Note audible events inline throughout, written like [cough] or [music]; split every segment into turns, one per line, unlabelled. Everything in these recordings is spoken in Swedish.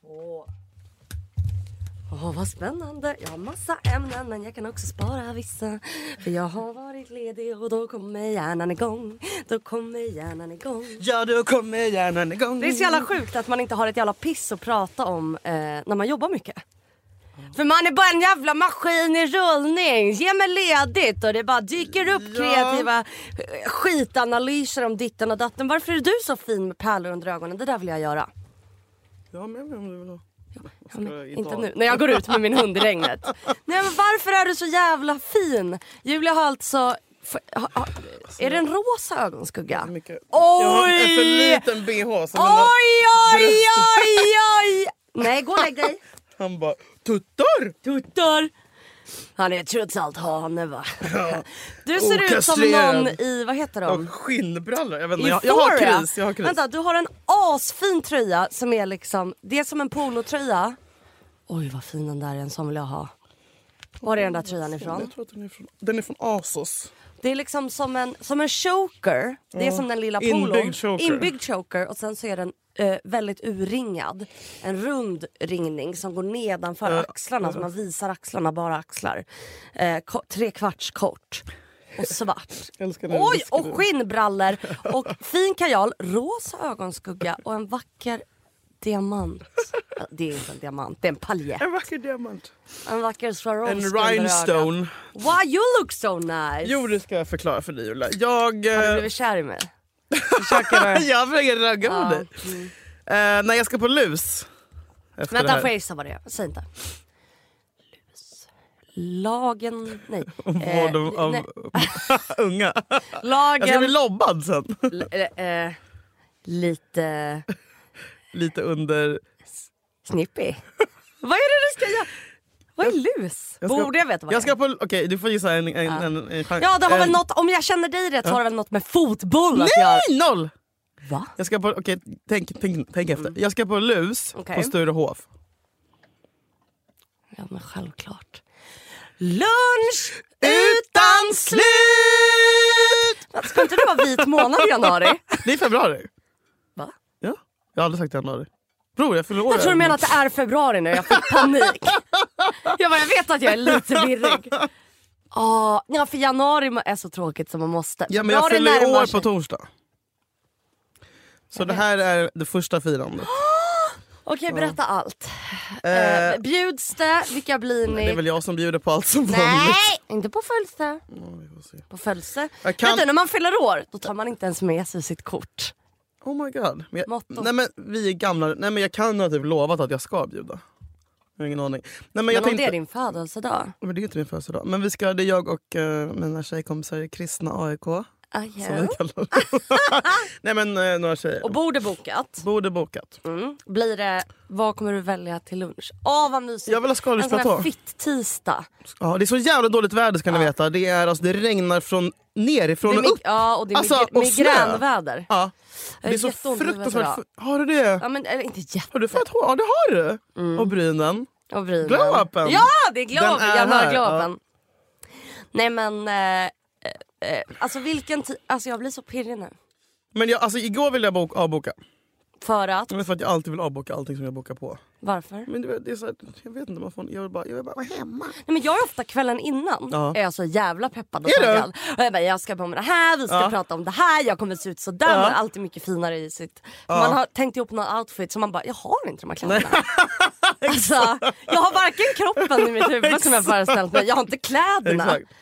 Så. Åh, vad spännande. Jag har massa ämnen men jag kan också spara vissa. För jag har varit ledig och då kommer hjärnan igång. Då kommer hjärnan igång.
Ja, då kommer hjärnan igång.
Det är så jävla sjukt att man inte har ett jävla piss att prata om eh, när man jobbar mycket. För man är bara en jävla maskin i rullning. Ge mig ledigt och det bara dyker upp kreativa eh, skitanalyser om ditten och datten. Varför är du så fin med pärlor under ögonen? Det där vill jag göra.
Ja, men om du vill ha.
Ja, men
Ska jag
Mm, inte
ta-
nu, när jag går ut med min hund i regnet. [laughs] Nej men varför är du så jävla fin? Julia har alltså... För, ha, ha, är det en rosa ögonskugga? Oj!
Mycket. Jag har en för liten bh som mina-
Oj, oj, oj, oj! [laughs] Nej, gå och lägg dig.
Han bara tuttar!
Tuttar! Han är trots allt hane va? Du ser ut som
Okastrerad.
någon i, vad heter de?
Och skinnbrallor. Jag, vet inte, jag, jag har
Euphoria.
kris. Jag har kris.
Vänta, du har en asfin tröja som är liksom, det är som en polotröja. Oj vad fin den där är, en sån vill jag ha. Var är den där tröjan ifrån?
Jag tror att den är från, den är från Asos.
Det är liksom som en, som en choker. Det är som den lilla polon.
Inbyggd choker.
Inbyggd choker. Och sen så är den eh, väldigt urringad. En rund ringning som går nedanför axlarna. Så man visar axlarna, bara axlar. Eh, ko- tre kvarts kort. Och svart.
Jag älskar när du
Oj!
beskriver.
Och skinnbrallor. Och fin kajal, rosa ögonskugga och en vacker diamant. Det är inte en diamant, det är en paljett.
En vacker diamant.
En vacker Swarovski
En
under ögat.
rhinestone.
Wow, you look so nice!
Jo, det ska jag förklara för dig Julia. Jag...
Har du
eh,
blivit kär i mig?
[laughs] jag försöker ragga på
Ja, mm.
dig. Eh, när jag ska på lus. Efter det
Vänta,
här.
får jag gissa vad det är? Säg inte. Lagen...
[laughs]
Nej. Eh,
Vård om- om-
nej.
[laughs] Unga. Alltså, Jag ska bli
Lagen...
lobbad sen. [laughs]
L- eh, lite
Lite under...
snippy.
[laughs]
vad är det du ska göra? Vad är lus?
Jag ska-
Borde jag veta vad
Jag
det är?
ska på... Okej, du får gissa en, en, en, en, en chans.
Ja, det har väl
Eh,
något, om jag känner dig rätt så har det väl något med fotboll att göra?
Nej, noll!
Va?
Jag ska på, okej, tänk, tänk, tänk efter. Jag ska på lus
Mm. Okej.
på Sturehof.
Ja, men självklart. Lunch!
Utan slut!
Ska inte det vara vit månad i januari?
Det är februari.
Va?
Ja, jag har aldrig sagt januari. Bror, jag fyller år.
Jag tror du menar att det är februari nu, jag fick panik. jag bara, jag vet att jag är lite virrig. Ah, ja, för januari är så tråkigt som man måste.
Ja, men jag
Februari
fyller
närmar
år
sig.
på torsdag. Så det här är det första firandet.
Okej, berätta allt.
Eh,
Eh, bjuds det? Vilka blir
det är
ni?
väl jag som bjuder på allt som
Nej,
vanligt.
inte på födelse.
Ja, vi får se.
På födelse.
Jag kan-
Vet du, när man fyller år då tar man inte ens med sig sitt kort.
Oh my god. Men jag,
Motto.
nej, men vi är gamla. Nej, men jag kan ha typ lovat att jag ska bjuda. Jag har ingen aning. Nej, men
Men
jag
om
tänkte...
det är din födelsedag.
Men det är ju inte min födelsedag. Men vi ska, det är jag och eh, mina tjejkompisar i Kristna AIK.
Ah,
Som
ja.
vi kallar dem. [laughs] Nej men eh, några tjejer.
Och bord är bokat.
Borde bokat.
Mm. Blir det, vad kommer du välja till lunch? Åh vad mysigt.
Jag vill ha
en sån Alltså, här
skaldjursplatå.
fitt-tisdag.
Ja, det är så jävla dåligt väder ska ni veta. Det, är, alltså, det regnar från
Det
nerifrån
är
och upp.
mig- ja, och det är
Alltså,
mig-
och snö.
migränväder.
Ja.
Jag
Det är
har
så
jätteont i huvudet
fruktansvärt...
idag.
Har du det?
Ja, Mm. men, eller inte jätte...
Har du fått hår? Ja det har du. Och brynen.
Och brynen.
Glow-upen.
Ja, det är glow-upen.
Den är
Januari
här,
glow-upen. Nej men... Eh, eh, eh, alltså vilken tid... Alltså jag blir så pirrig nu.
Men jag, alltså, igår ville jag bok, avboka.
För att...
Men för att jag alltid vill avboka allting som jag bokar på.
Varför?
Men det, det är så här, jag vet inte, man får, jag vill bara, jag vill bara vara hemma.
Nej, men jag är ofta kvällen innan
Ja.
är jag så jävla peppad och
Är du?
taggad. Och jag bara, jag ska på med det här, vi ska
Ja.
prata om det här, jag kommer se ut sådär.
Ja.
Man är alltid mycket finare i sitt... Man har tänkt ihop någon outfit som man bara, jag har inte de här kläderna.
[laughs]
alltså, jag har varken kroppen i mitt huvud som jag föreställt mig, jag har inte kläderna.
Exakt.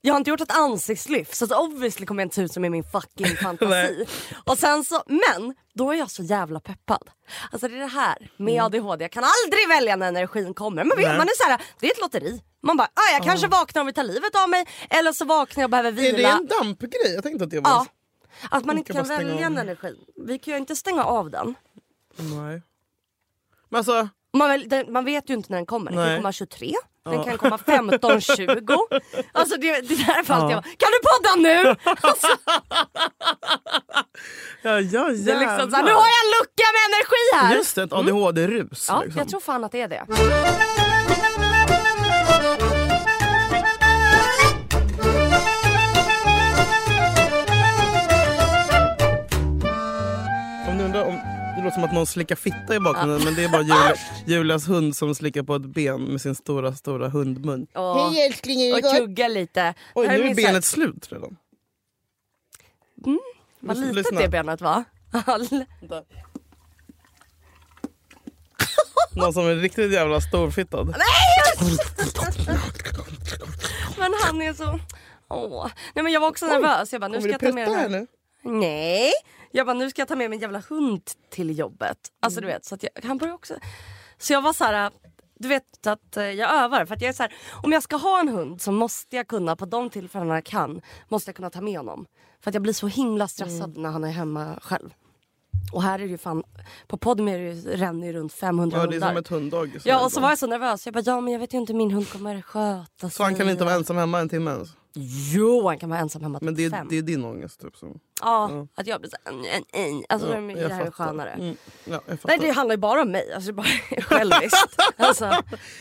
Jag har inte gjort ett ansiktslyft så att obviously kommer jag inte se ut som i min
[laughs]
fucking fantasi. och sen så, men då är jag så jävla peppad. Alltså det är det här med ADHD, jag kan aldrig välja när energin kommer. Men vet,
Mm. Nej.
man är så här, det är ett lotteri. Man bara, ah, jag kanske vaknar om vi tar livet av mig eller så vaknar jag och behöver
Är
vila.
det en dampgrej? Jag tänkte att det var...
Ja. Att man inte
kan
kan
bara stänga
välja
av
en
den.
energi. Vi kan ju inte stänga av den.
Nej. Men alltså,
Man, väl, den, man vet ju inte när den kommer. Den kan
Nej.
komma 23, den kan komma
[laughs]
15.20. Alltså det, det är därför alltid jag kan du podda nu? Alltså,
ja, ja,
liksom Det är liksom såhär, nu har jag en lucka med energi det här.
Just det, ett ADHD-rus.
Ja,
liksom.
jag tror fan att det är det.
Om ni undrar om det låter som att någon slickar fitta i bakgrunden men det är
[laughs]
bara Julia, Julias hund som slickar på ett ben med sin stora stora hundmun.
Och,
Hej älskling, är det
och
gott?
tugga lite.
Oj,
Här
nu är
min så här-
benet slut redan.
Vad
Lyssna-
litet
lyssna.
det benet var. [laughs] All-
Någon som är riktigt jävla storfittad.
Men han är så... Åh. Nej men jag var också nervös. Jag bara, nu ska
Kommer du
jag ta med
prutta
den
här
här.
nu?
Nej. Jag bara, nu ska jag ta med min jävla hund till jobbet. Alltså
Mm.
du vet, så att jag, han började också... Så jag var så här... Du vet att eh, jag övar. För att jag är så här, om jag ska ha en hund så måste jag kunna, på de tillfällen jag kan, måste jag kunna ta med honom. För att jag blir så himla stressad
Mm.
när han är hemma själv. Och här är det ju fan, på podden är det ju, ränner ju runt 500
Ja, det är
hundar.
som ett hunddagis.
Ja och så var jag så nervös. Jag bara, ja men jag vet ju inte hur min hund kommer sköta sig.
Så han kan inte vara ensam hemma en timme ens?
Jo, han kan vara ensam hemma
Men
till
det,
fem.
det är din ångest typ? Som,
ja, att jag blir såhär... nej, nej. Alltså
ja,
det, är- det här är
fattar.
skönare.
Mm, ja, jag fattar.
Nej det handlar ju bara om mig, alltså det är bara
[laughs]
själviskt. Alltså,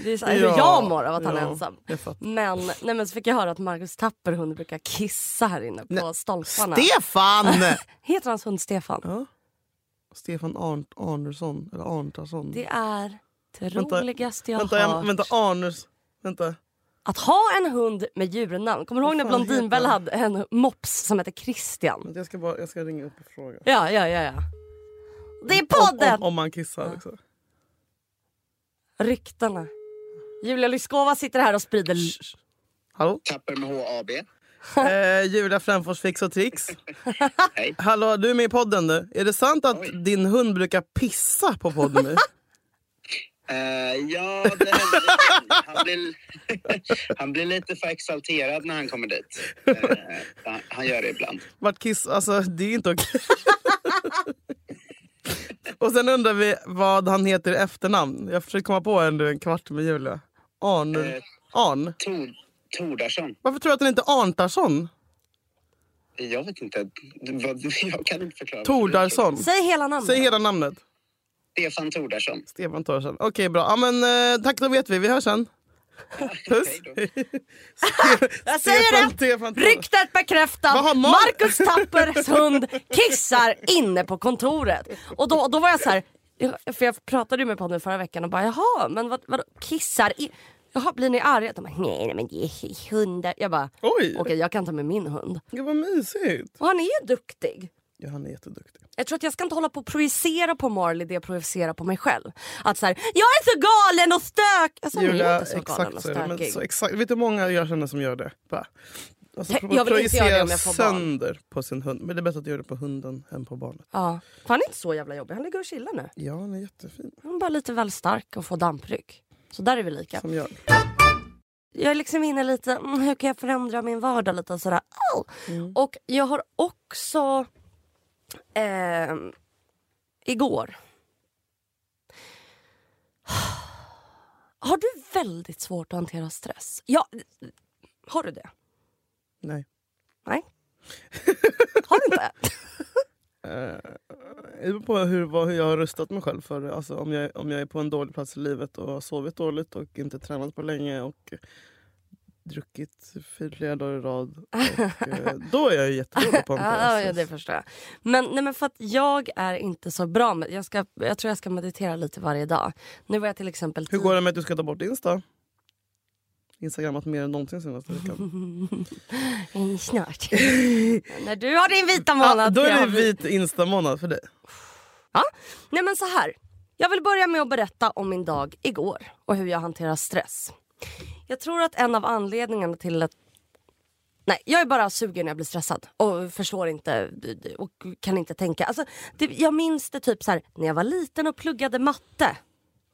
det är så här, hur jag mår av att han är
ja,
ensam.
Jag fattar.
Men, nej, men så fick jag höra att Marcus Tapper hund brukar kissa här inne på stolparna. [laughs]
Stefan!
Heter hans hund Stefan?
ja. Stefan Arnt, Arnersson, eller Arntarsson.
Det är det
Vänta,
roligaste jag
vänta,
har
jag, vänta, Arners... Vänta.
Att ha en hund med djurnamn. Kommer du ihåg när
Vad fan
Blondinbella
heter
hade en mops som hette Christian?
vänta jag, ska bara, jag ska ringa upp och fråga.
Ja, ja, ja. ja. Det är podden!
Om, om, om man kissar liksom.
Ryktena. Julia Lyskova sitter här och sprider... [laughs]
Hallå?
Tapper med HAB.
Eh, Julia Fränfors fix
[laughs]
och tricks.
Hej.
Hallå, du är med i podden nu. Är det sant att
Oj.
din hund brukar pissa
[laughs]
på podden?
Eh, ja, det hände. Han blir, [laughs] han blir lite för exalterad när han kommer dit. Eh, han, han gör det ibland.
Vart kiss... Alltså, det är inte okej. [laughs] och sen undrar vi vad han heter i efternamn. Jag försöker komma på en, en kvart med Julia. Arn...
Eh.
Arn?
Tor, Tordarsson?
Varför tror du att den heter Arntarsson?
Jag vet inte. Vad, jag kan inte förklara.
Tordarsson?
Säg hela namnet.
Säg hela namnet.
Stefan Tordarsson.
Stefan Tordarsson. Okej, bra. Ja, men, eh, tack, då vet vi. Vi hörs sen. Puss.
Hej då.
[laughs]
Jag säger det!
Stefan Tordarsson.
Ryktet bekräftat.
Vad har Mar-
Marcus Tappers hund kissar inne på kontoret. Och då, då var jag så här... jag- För jag pratade ju med podden förra veckan och bara jaha, men vad, vadå kissar in... Jaha, blir ni arga? De bara, nej, nej men det är hundar. Jag bara, okej
Oj!
jag kan ta med min hund.
Gud, vad mysigt.
Och han är ju duktig.
Ja, han är jätteduktig.
Jag tror att jag ska inte hålla på och projicera på Marley det jag projicerar på mig själv. Att så här, jag är så galen och stök! Alltså, jag är
Julia,
inte så galen
exakt
och
så är det. Men
stökig.
så exakt, vet du hur många jag känner som gör det? Bara, alltså,
Jag
pro-
vill inte
projicera
göra det om jag får barn.
sönder på sin hund. Men det är bättre att du gör det på hunden än på barnet.
Ja. För Han är inte så jävla jobbig, han ligger och chillar nu.
Ja, han är jättefin.
Han är bara lite väl stark och får dampryck. Så där är vi lika.
Som jag.
Jag är liksom inne lite, mm, hur kan jag förändra min vardag lite och sådär. Au! Och jag har också... ehm, igår. Har du väldigt svårt att hantera stress? Ja, har du det?
Nej.
Nej. Har du inte?
Eh, Det beror på hur, vad, hur jag har rustat mig själv för det. Alltså, om, jag, om jag är på en dålig plats i livet och har sovit dåligt och inte tränat på länge och druckit fyra flera dagar i rad.
[laughs]
Och, eh, då är jag ju jättedålig på att
Ja, ja, det
hantera stress.
förstår jag. Men, nej, men för att jag är inte så bra med... Jag, ska, jag tror jag ska meditera lite varje dag. Nu var jag till exempel...
Hur går det med att du ska ta bort Insta? Instagrammat mer än någonsin senaste veckan.
Mm,
[laughs]
Snart. När du har din vita månad.
Ja, då
jag
är
har
det
min-
vit instamånad för dig.
Nej men så här. Jag vill börja med att berätta om min dag igår och hur jag hanterar stress. Jag tror att en av anledningarna till att... Nej, jag är bara sugen när jag blir stressad och förstår inte och kan inte tänka. Alltså, det, jag minns det typ så här när jag var liten och pluggade matte.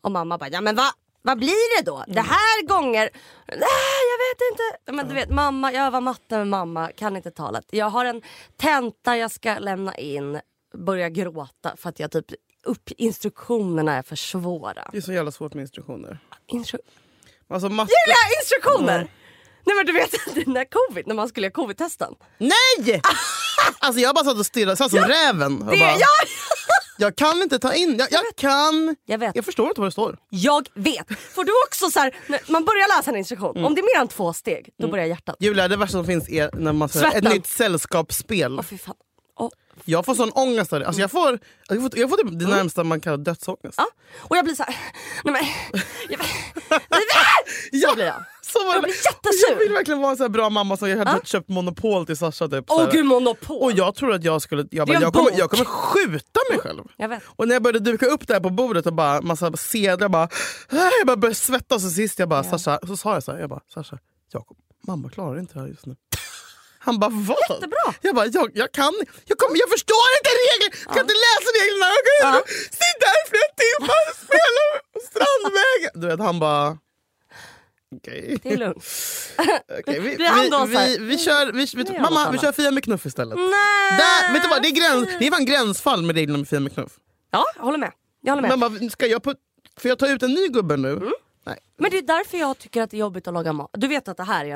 Och mamma bara, ja men va? Vad blir det då? Det här gånger? Nej, jag vet inte. Men du vet, mamma, jag övar matte med mamma, kan inte talet. Jag har en tenta jag ska lämna in, börjar gråta för att jag typ upp instruktionerna är för svåra.
Det är så jävla svårt med instruktioner.
Instru-
Alltså matte...
Julia, instruktioner!
Ja.
Nej men du vet [laughs] den där covid, när man skulle göra covid-testen. [laughs]
Nej! Alltså jag bara satt och stirrade, satt som räven. Och
Det,
bara,
ja,
[laughs] Jag kan inte ta in, jag, jag kan.
Jag vet.
Jag förstår inte vad det står.
Jag vet! Får du också så här, när man börjar läsa en instruktion,
Mm.
om det är mer än två steg, då börjar hjärtat.
Julia, det värsta som finns är när man får ett
Svärtan.
nytt sällskapsspel.
Åh fy fan. Åh.
Jag får sån ångest av det. Alltså jag får, jag får, jag får typ det närmsta man kallar dödsångest.
Mm. Ja. ah. Och jag blir så här, nej men. Jag,
[laughs]
nej, men!
Ja,
Så blir jag.
[laughs] Så var
Jag
det.
blir jättesur.
Jag vill verkligen vara en sån här bra mamma som jag hade
Ja.
köpt monopol till Sasha. Typ, så
Åh
här.
gud monopol.
och jag tror att jag skulle jag
Det är
bara,
en
jag kommer,
bok.
jag kommer skjuta mig själv.
Jag vet.
Och när jag började duka upp det här på bordet och bara massa sedlar, jag bara, "Ah", jag bara började svettas och sist jag bara, Sasha, så sa jag så här, jag bara, Sasha, Jakob, mamma klarar inte det här just nu. Han bara, vad?
Jättebra.
Jag bara, jag, jag kan jag, kommer, jag förstår inte reglerna, jag kan inte läsa reglerna. Jag kan
Ja.
inte sitta här i flera timmar och spela på Strandvägen. Du vet, han bara, okej.
Det är lugnt.
Okej, vi,
Vi hann då,
vi,
så här.
vi, vi kör, vi, vi,
gör något
mamma, vi
annat.
kör Fia med knuff istället.
Nej.
Där, vet du vad, det, är gräns, det är fan gränsfall med reglerna med Fia med knuff.
Ja, jag håller med. Jag håller med. Men, Mm.
Mamma, ska jag, put, får jag ta ut en ny gubbe nu? Nej.
det är därför jag tycker att det är jobbigt att laga mat. Du vet att det här är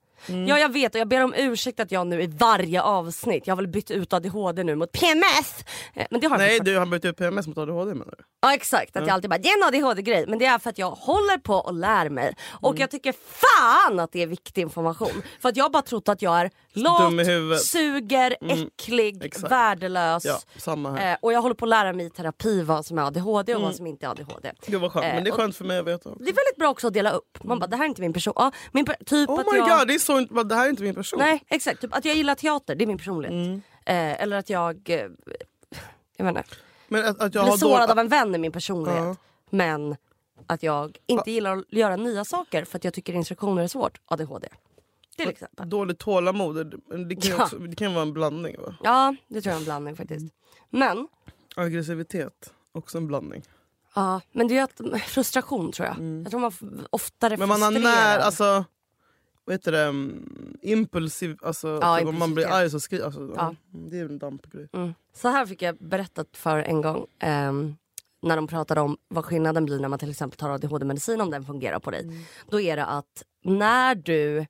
Mm.
Ja jag vet och jag ber om ursäkt att jag nu i varje avsnitt, jag har väl bytt ut ADHD nu mot PMS. Eh, Men det har jag
Nej,
fortfarande.
du har bytt ut PMS mot ADHD menar du?
Ja exakt, att jag alltid bara det är en ADHD-grej. Men det är för att jag håller på och lär mig. Och
Mm.
jag tycker fan att det är viktig information. För att jag har bara trott att jag är
Dum i huvudet. Mm.
lat, suger, äcklig,
exakt.
värdelös.
Ja, samma här.
Eh, och jag håller på att lära mig i terapi vad som är ADHD och
Mm.
vad som inte är ADHD.
Gud vad skönt,
Eh,
men det är
och
skönt för mig att veta.
det
också.
är typ väldigt bra också att dela upp. Man bara det här är inte min person. Ja, min, per- typ
Oh
att
my
jag...
god, det, är så, inte- det här är Mm. inte min person.
Nej exakt, typ att jag gillar teater, det är min personlighet. Eh, eller att jag... Eh, jag menar,
Men att, att jag
blir
har
sårad
då,
av en vän är min personlighet.
Ja.
Men att jag inte gillar att göra nya saker för att jag tycker instruktioner är svårt. ADHD. Till exempel.
dåligt tålamod, det- det kan, ju
liksom. Ja.
också, det kan vara en blandning va?
Ja, det tror jag är en blandning faktiskt. Men,
Aggressivitet, också en blandning.
ja, men det är ju att, frustration tror jag. Jag tror man f- oftare
Mm. Men man har
frustrerad.
när, alltså, vad heter det, um, impulsiv, alltså typ om man blir
impulsivitet.
arg så skriver alltså,
Ja. Mm.
Det är en dampgrej.
Så här fick jag berättat för en gång. ehm, när de pratade om vad skillnaden blir när man till exempel tar ADHD-medicin om den fungerar på dig. Då är det att när du...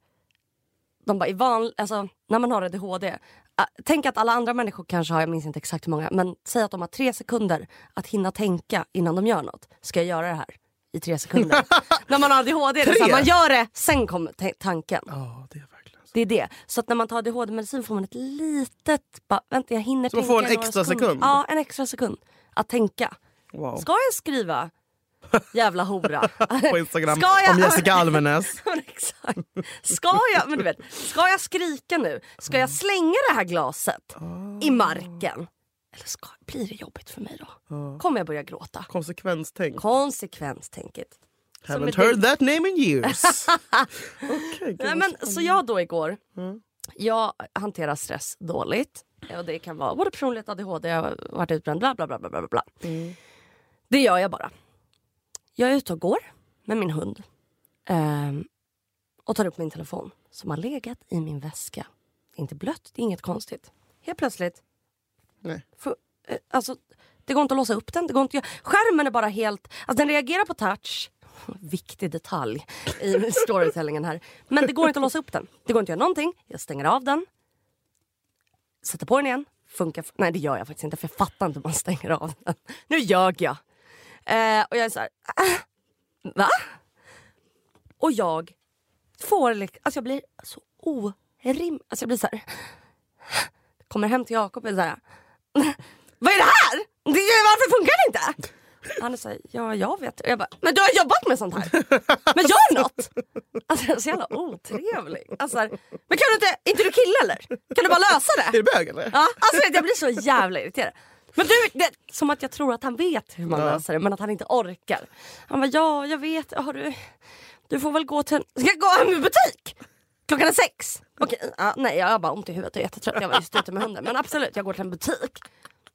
De bara, i van, alltså, när man har ADHD. ä, tänk att alla andra människor kanske har, jag minns inte exakt hur många, men säg att de har tre sekunder att hinna tänka innan de gör något. Ska jag göra det här? I tre sekunder. när man har ADHD, är det så här,
Tre?
man gör det, sen kommer ta- tanken.
Ja, det är verkligen så.
Det är det. Så att när man tar ADHD-medicin får man ett litet... Bara, vänta, jag hinner
Så man
tänka
får en
några
extra
sekunder."
sekund?
Ja, en extra sekund. Att tänka.
Wow.
Ska jag skriva jävla hora?
[laughs] På Instagram,
Ska jag- [laughs]
om Jessica Almenäs.
Men Exakt. Ska jag, men du vet, ska jag skrika nu? Ska jag slänga det här glaset i
Ah.
marken? Eller ska, blir det jobbigt för mig då? Kommer jag börja gråta?
Konsekvenstänk.
Konsekvenstänket.
Haven't
ett litet-
heard that name
[laughs]
in years. Okej,
Nej,
gud.
men, så jag då igår, jag hanterar stress dåligt. eh, Och det kan vara både personligt ADHD, jag har varit utbränd, bla bla bla. bla, bla, bla. Det gör jag bara. Jag är ute och går med min hund. ehm, och tar upp min telefon som har legat i min väska. Det är inte blött, det är inget konstigt. Helt plötsligt.
Nej.
Får- eh, alltså, det går inte att låsa upp den. Det går inte att, göra- skärmen är bara helt... Alltså, den reagerar på touch. [laughs] Viktig detalj i storytellingen här. Men det går inte att låsa upp den. Det går inte att göra någonting. Jag stänger av den. Sätter på den igen. Funkar... Nej, det gör jag faktiskt inte för jag fattar inte hur man stänger av den. [laughs] Nu ljög jag. Eh, och jag är så här... "Ah, Va? Och jag får... lik- Alltså jag blir så orim... Alltså jag blir så här... [sighs] Kommer hem till Jakob och är så här... [laughs] Vad är det här? Det, varför funkar det inte? Han är såhär, ja jag vet. Och jag bara, men du har jobbat med sånt här. Men gör något! Alltså jag är så jävla otrevlig. Alltså, så här, men kan du inte, är inte du kille eller? Kan du bara lösa det?
Är det bög eller?
Ja, alltså vet, du, jag blir så jävla irriterad. Men du, det, som att jag tror att han vet hur man löser det men att han inte orkar. Han bara, ja jag vet, har du, du får väl gå till en, ska jag gå hem i butik? Klockan är sex. Okej, ja, nej jag har bara ont i huvudet och är jättetrött. Jag var just ute med hunden. Men absolut, jag går till en butik.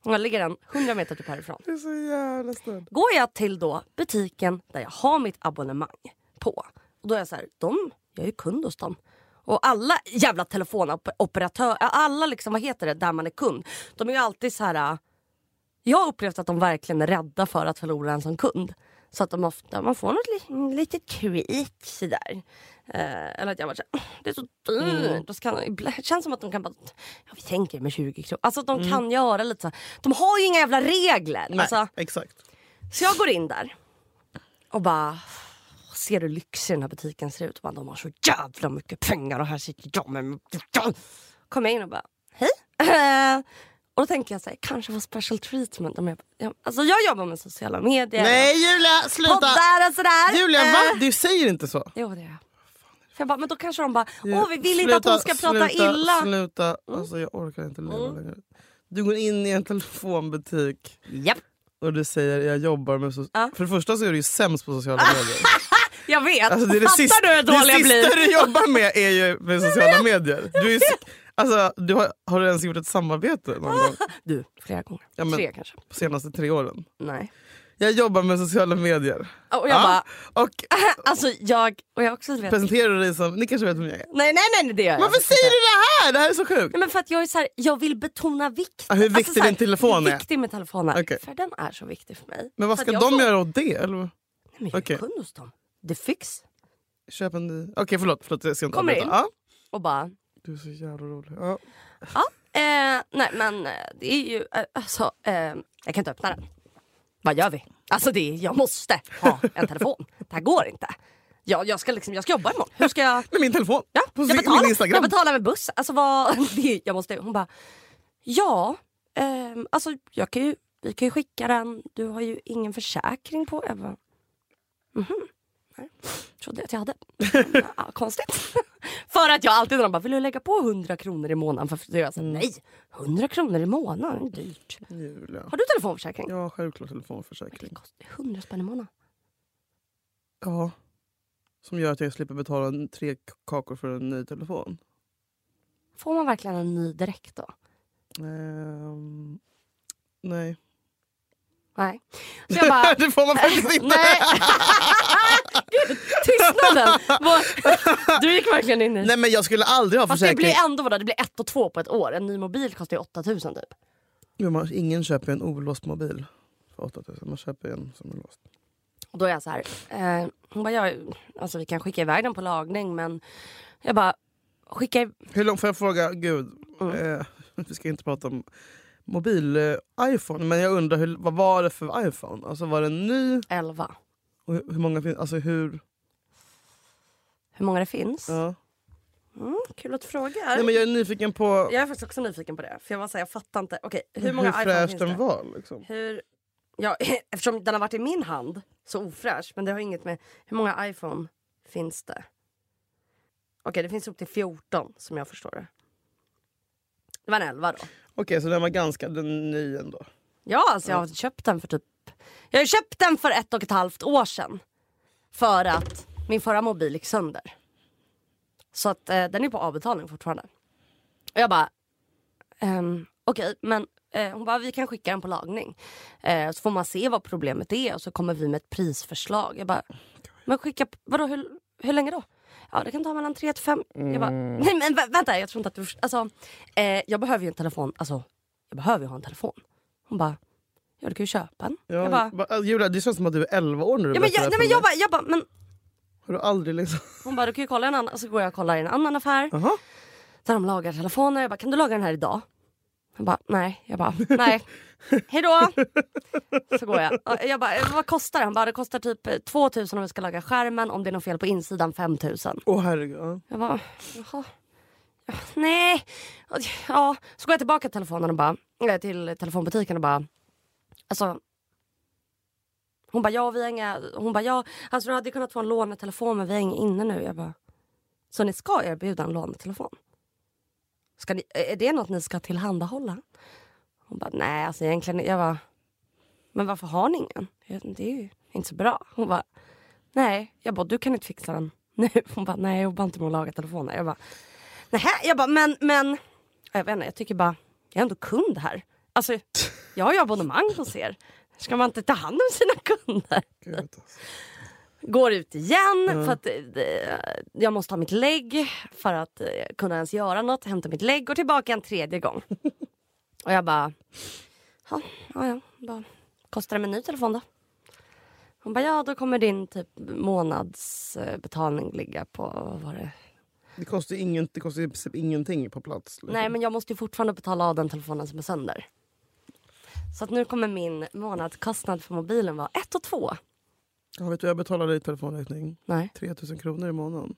Och jag ligger den 100 meter typ härifrån.
Det är så jävla snällt.
Går jag till då butiken där jag har mitt abonnemang på. Och då är jag så här, de, jag är ju kund hos dem. Och alla jävla telefonoperatörer, alla liksom, vad heter det, där man är kund. De är ju alltid så här... äh, Jag har upplevt att de verkligen är rädda för att förlora en som kund. Så att de ofta, man får något li, lite creak sådär. Eh, eller att jag bara såhär, det är så dyrt. Då ska, det känns som att de kan bara, ja, vi tänker med 20 kronor. Alltså att de kan göra lite så. här. De har ju inga jävla regler.
Nej,
Alltså,
exakt.
så jag går in där och bara ser hur lyxig den här butiken ser ut. Man, de har så jävla mycket pengar och här sitter jag med... Kommer jag in och bara, hej. [laughs] Eh, och då tänker jag så här, kanske få special treatment. Om jag, jag, alltså jag jobbar med sociala medier,
Nej Julia, sluta!
poddar och sådär.
Julia,
Eh,
va? Du säger inte så.
Jo det gör jag. För jag bara, men då kanske de bara, åh vi vill inte att hon ska prata
sluta,
illa. Mm.
Sluta, alltså jag orkar inte leva längre. Du går in i en telefonbutik
Japp,
och du säger jag jobbar med... So- För det första så är du ju sämst på
[laughs]
sociala medier.
jag vet.
Alltså, det är det
Fattar
sista,
du hur dålig jag
det
blir?
sista du jobbar med är ju
[laughs]
med sociala medier. Du är, s- alltså, du har, har du ens gjort ett samarbete någon gång
Du, flera gånger.
Ja, men-
Tre kanske.
de senaste tre åren?
Nej.
Jag jobbar med sociala medier.
Och jag bara, [laughs]
och
alltså jag, och jag också vet
Ah. presenterar dig som... Ni kanske vet vem jag är.
Nej, nej, nej, nej det gör jag
Varför
faktiskt
säger
inte.
du det här? Det här är så sjukt.
Nej, men för att jag, är så här, jag vill betona vikten.
Ja, hur viktig
så här,
din telefon
hur
är.
viktig min telefon är.
Okej.
För den är så viktig för mig.
Men vad
Så att
ska
jag
de
får-
göra åt det? Eller? vad?
Nej, men jag är
Okej.
kund hos dem. Det fix.
Köp en ny. Okej förlåt, förlåt jag ska inte
Kommer
avbryta.
in.
Ja.
Och bara,
Du är så jävla rolig. Ja.
ja. Eh, nej men eh, det är ju, eh, alltså eh, jag kan inte öppna den. Vad gör vi? Alltså det är, jag måste ha en telefon. Det här går inte. Jag, jag, ska liksom, jag ska jobba imorgon. Hur ska jag?
Med min telefon.
Ja,
på
jag
sin-
betalar,
min Instagram.
jag betalar med buss. Alltså vad, [laughs] det- jag måste, hon bara, ja, ehm, alltså jag kan ju, vi kan ju skicka den, du har ju ingen försäkring på. Jag bara, mhm, nej, trodde jag att jag hade. ja, [laughs] konstigt. för att jag alltid, när de bara, vill du lägga på 100 kronor i månaden? För jag säger nej, 100 kronor i månaden, det är dyrt.
Julia.
Har du telefonförsäkring?
Ja, självklart
Det
telefonförsäkring.
kostar 100 spänn i månaden.
Ja. Som gör att jag slipper betala en- tre k- kakor för en ny telefon.
Får man verkligen en ny direkt då?
Ehm, nej.
Nej. Så jag bara,
[laughs] det får man faktiskt inte.
Nej! [laughs] Gud, tystnaden! Var- Du gick verkligen in i...
Nej men jag skulle aldrig ha
Fast det
försäkring.
blir ändå vadå, det blir ett och två på ett år. En ny mobil kostar ju 8000 typ.
Men man, ingen köper ju en olåst mobil för 8000. Man köper ju en som är låst.
Och då är jag så här, eh, hon bara, ja, alltså vi kan skicka iväg den på lagning men jag bara, skicka i-
Hur långt får jag fråga? Gud,
Mm.
eh, [laughs] vi ska inte prata om mobil eh, iPhone. Men jag undrar, hur, vad var det för iPhone? Alltså var det en ny?
11.
Och hur, hur många finns? Alltså hur?
Hur många det finns?
Ja.
Mm, kul att du frågar.
Nej, men jag är nyfiken på
Jag är faktiskt också nyfiken på det. För jag var så här, jag fattar inte. Okej, hur
hur,
många iPhone
fräsch
finns det?
den var. Liksom.
Hur, ja, [laughs] eftersom den har varit i min hand, så ofräsch. Men det har inget med... Hur många iPhone finns det? Okej, det finns upp till 14 som jag förstår det. Det var en 11 då.
Okej, så den var ganska den ny ändå.
Ja, alltså jag har köpt den för typ... Jag har köpt den för ett och ett halvt år sedan. För att min förra mobil gick sönder. Så att eh, den är på avbetalning fortfarande. Och jag bara... ehm, Okej, men eh, hon bara vi kan skicka den på lagning. Eh, så får man se vad problemet är och så kommer vi med ett prisförslag. Jag bara... Men skicka... Vadå, hur, hur länge då? Ja, det kan ta mellan 3 till 5. Jag bara, nej men vä- vänta, jag tror inte att du förstår. Alltså, eh, jag behöver ju en telefon. Alltså, jag behöver ju ha en telefon. Hon bara, ja du kan ju köpa en.
Ja,
jag bara,
ba- äh, Julia, det känns som att du är 11 år när du
ja, men
berättar
jag,
det
nej, men
här för
jag
mig.
bara, jag bara men,
Har du aldrig liksom...
hon bara, du kan ju kolla i en annan. Så går jag och kollar i en annan affär.
Jaha.
Där de lagar telefoner. Jag bara, kan du laga den här idag? Hon bara, nej. Jag
[laughs]
bara, nej. Hejdå! Så går jag. Och Jag bara, vad kostar den? Bara, det kostar typ eh, 2000 om vi ska laga skärmen. Om det är något fel på insidan 5000.
Åh herregud. ja.
Jag bara, jaha. Nej. Ja, så går jag tillbaka till telefonen och bara, eller till telefonbutiken och bara, alltså. Hon bara, ja vi har inga, hon bara, ja, alltså du hade kunnat få en lånetelefon men vi har ingen inne nu. Jag bara, så ni ska erbjuda en lånetelefon? Ska ni, eh, är det något ni ska tillhandahålla? Hon bara, nej alltså egentligen, jag bara, men varför har ni ingen? Jag, det är ju inte så bra. Hon bara, [laughs] Nej, jag bara du kan inte fixa den nu. Hon bara nej jag jobbar inte med att laga telefoner. Jag bara Nähä, jag bara men, men. Jag vet inte, jag tycker bara, jag är ändå kund här. Alltså jag har ju abonnemang hos er. Ska man inte ta hand om sina kunder?
Gud, alltså.
Går ut igen för att eh, det- jag måste ha mitt lägg för att eh, kunna ens göra något. Hämta mitt lägg, går tillbaka en tredje gång. Och jag bara, ja, ja, ja. Bara, kostar det med en ny telefon då? Hon bara, ja då kommer din typ månadsbetalning ligga på, vad var det?
Det kostar ju ingen, det kostar ju i princip ingenting på plats. liksom.
Nej men jag måste ju fortfarande betala av den telefonen som är sönder. Så att nu kommer min månadskostnad för mobilen vara 1 och 2.
ja, vet du, jag betalade i telefonräkning
Nej.
3000 kronor i månaden.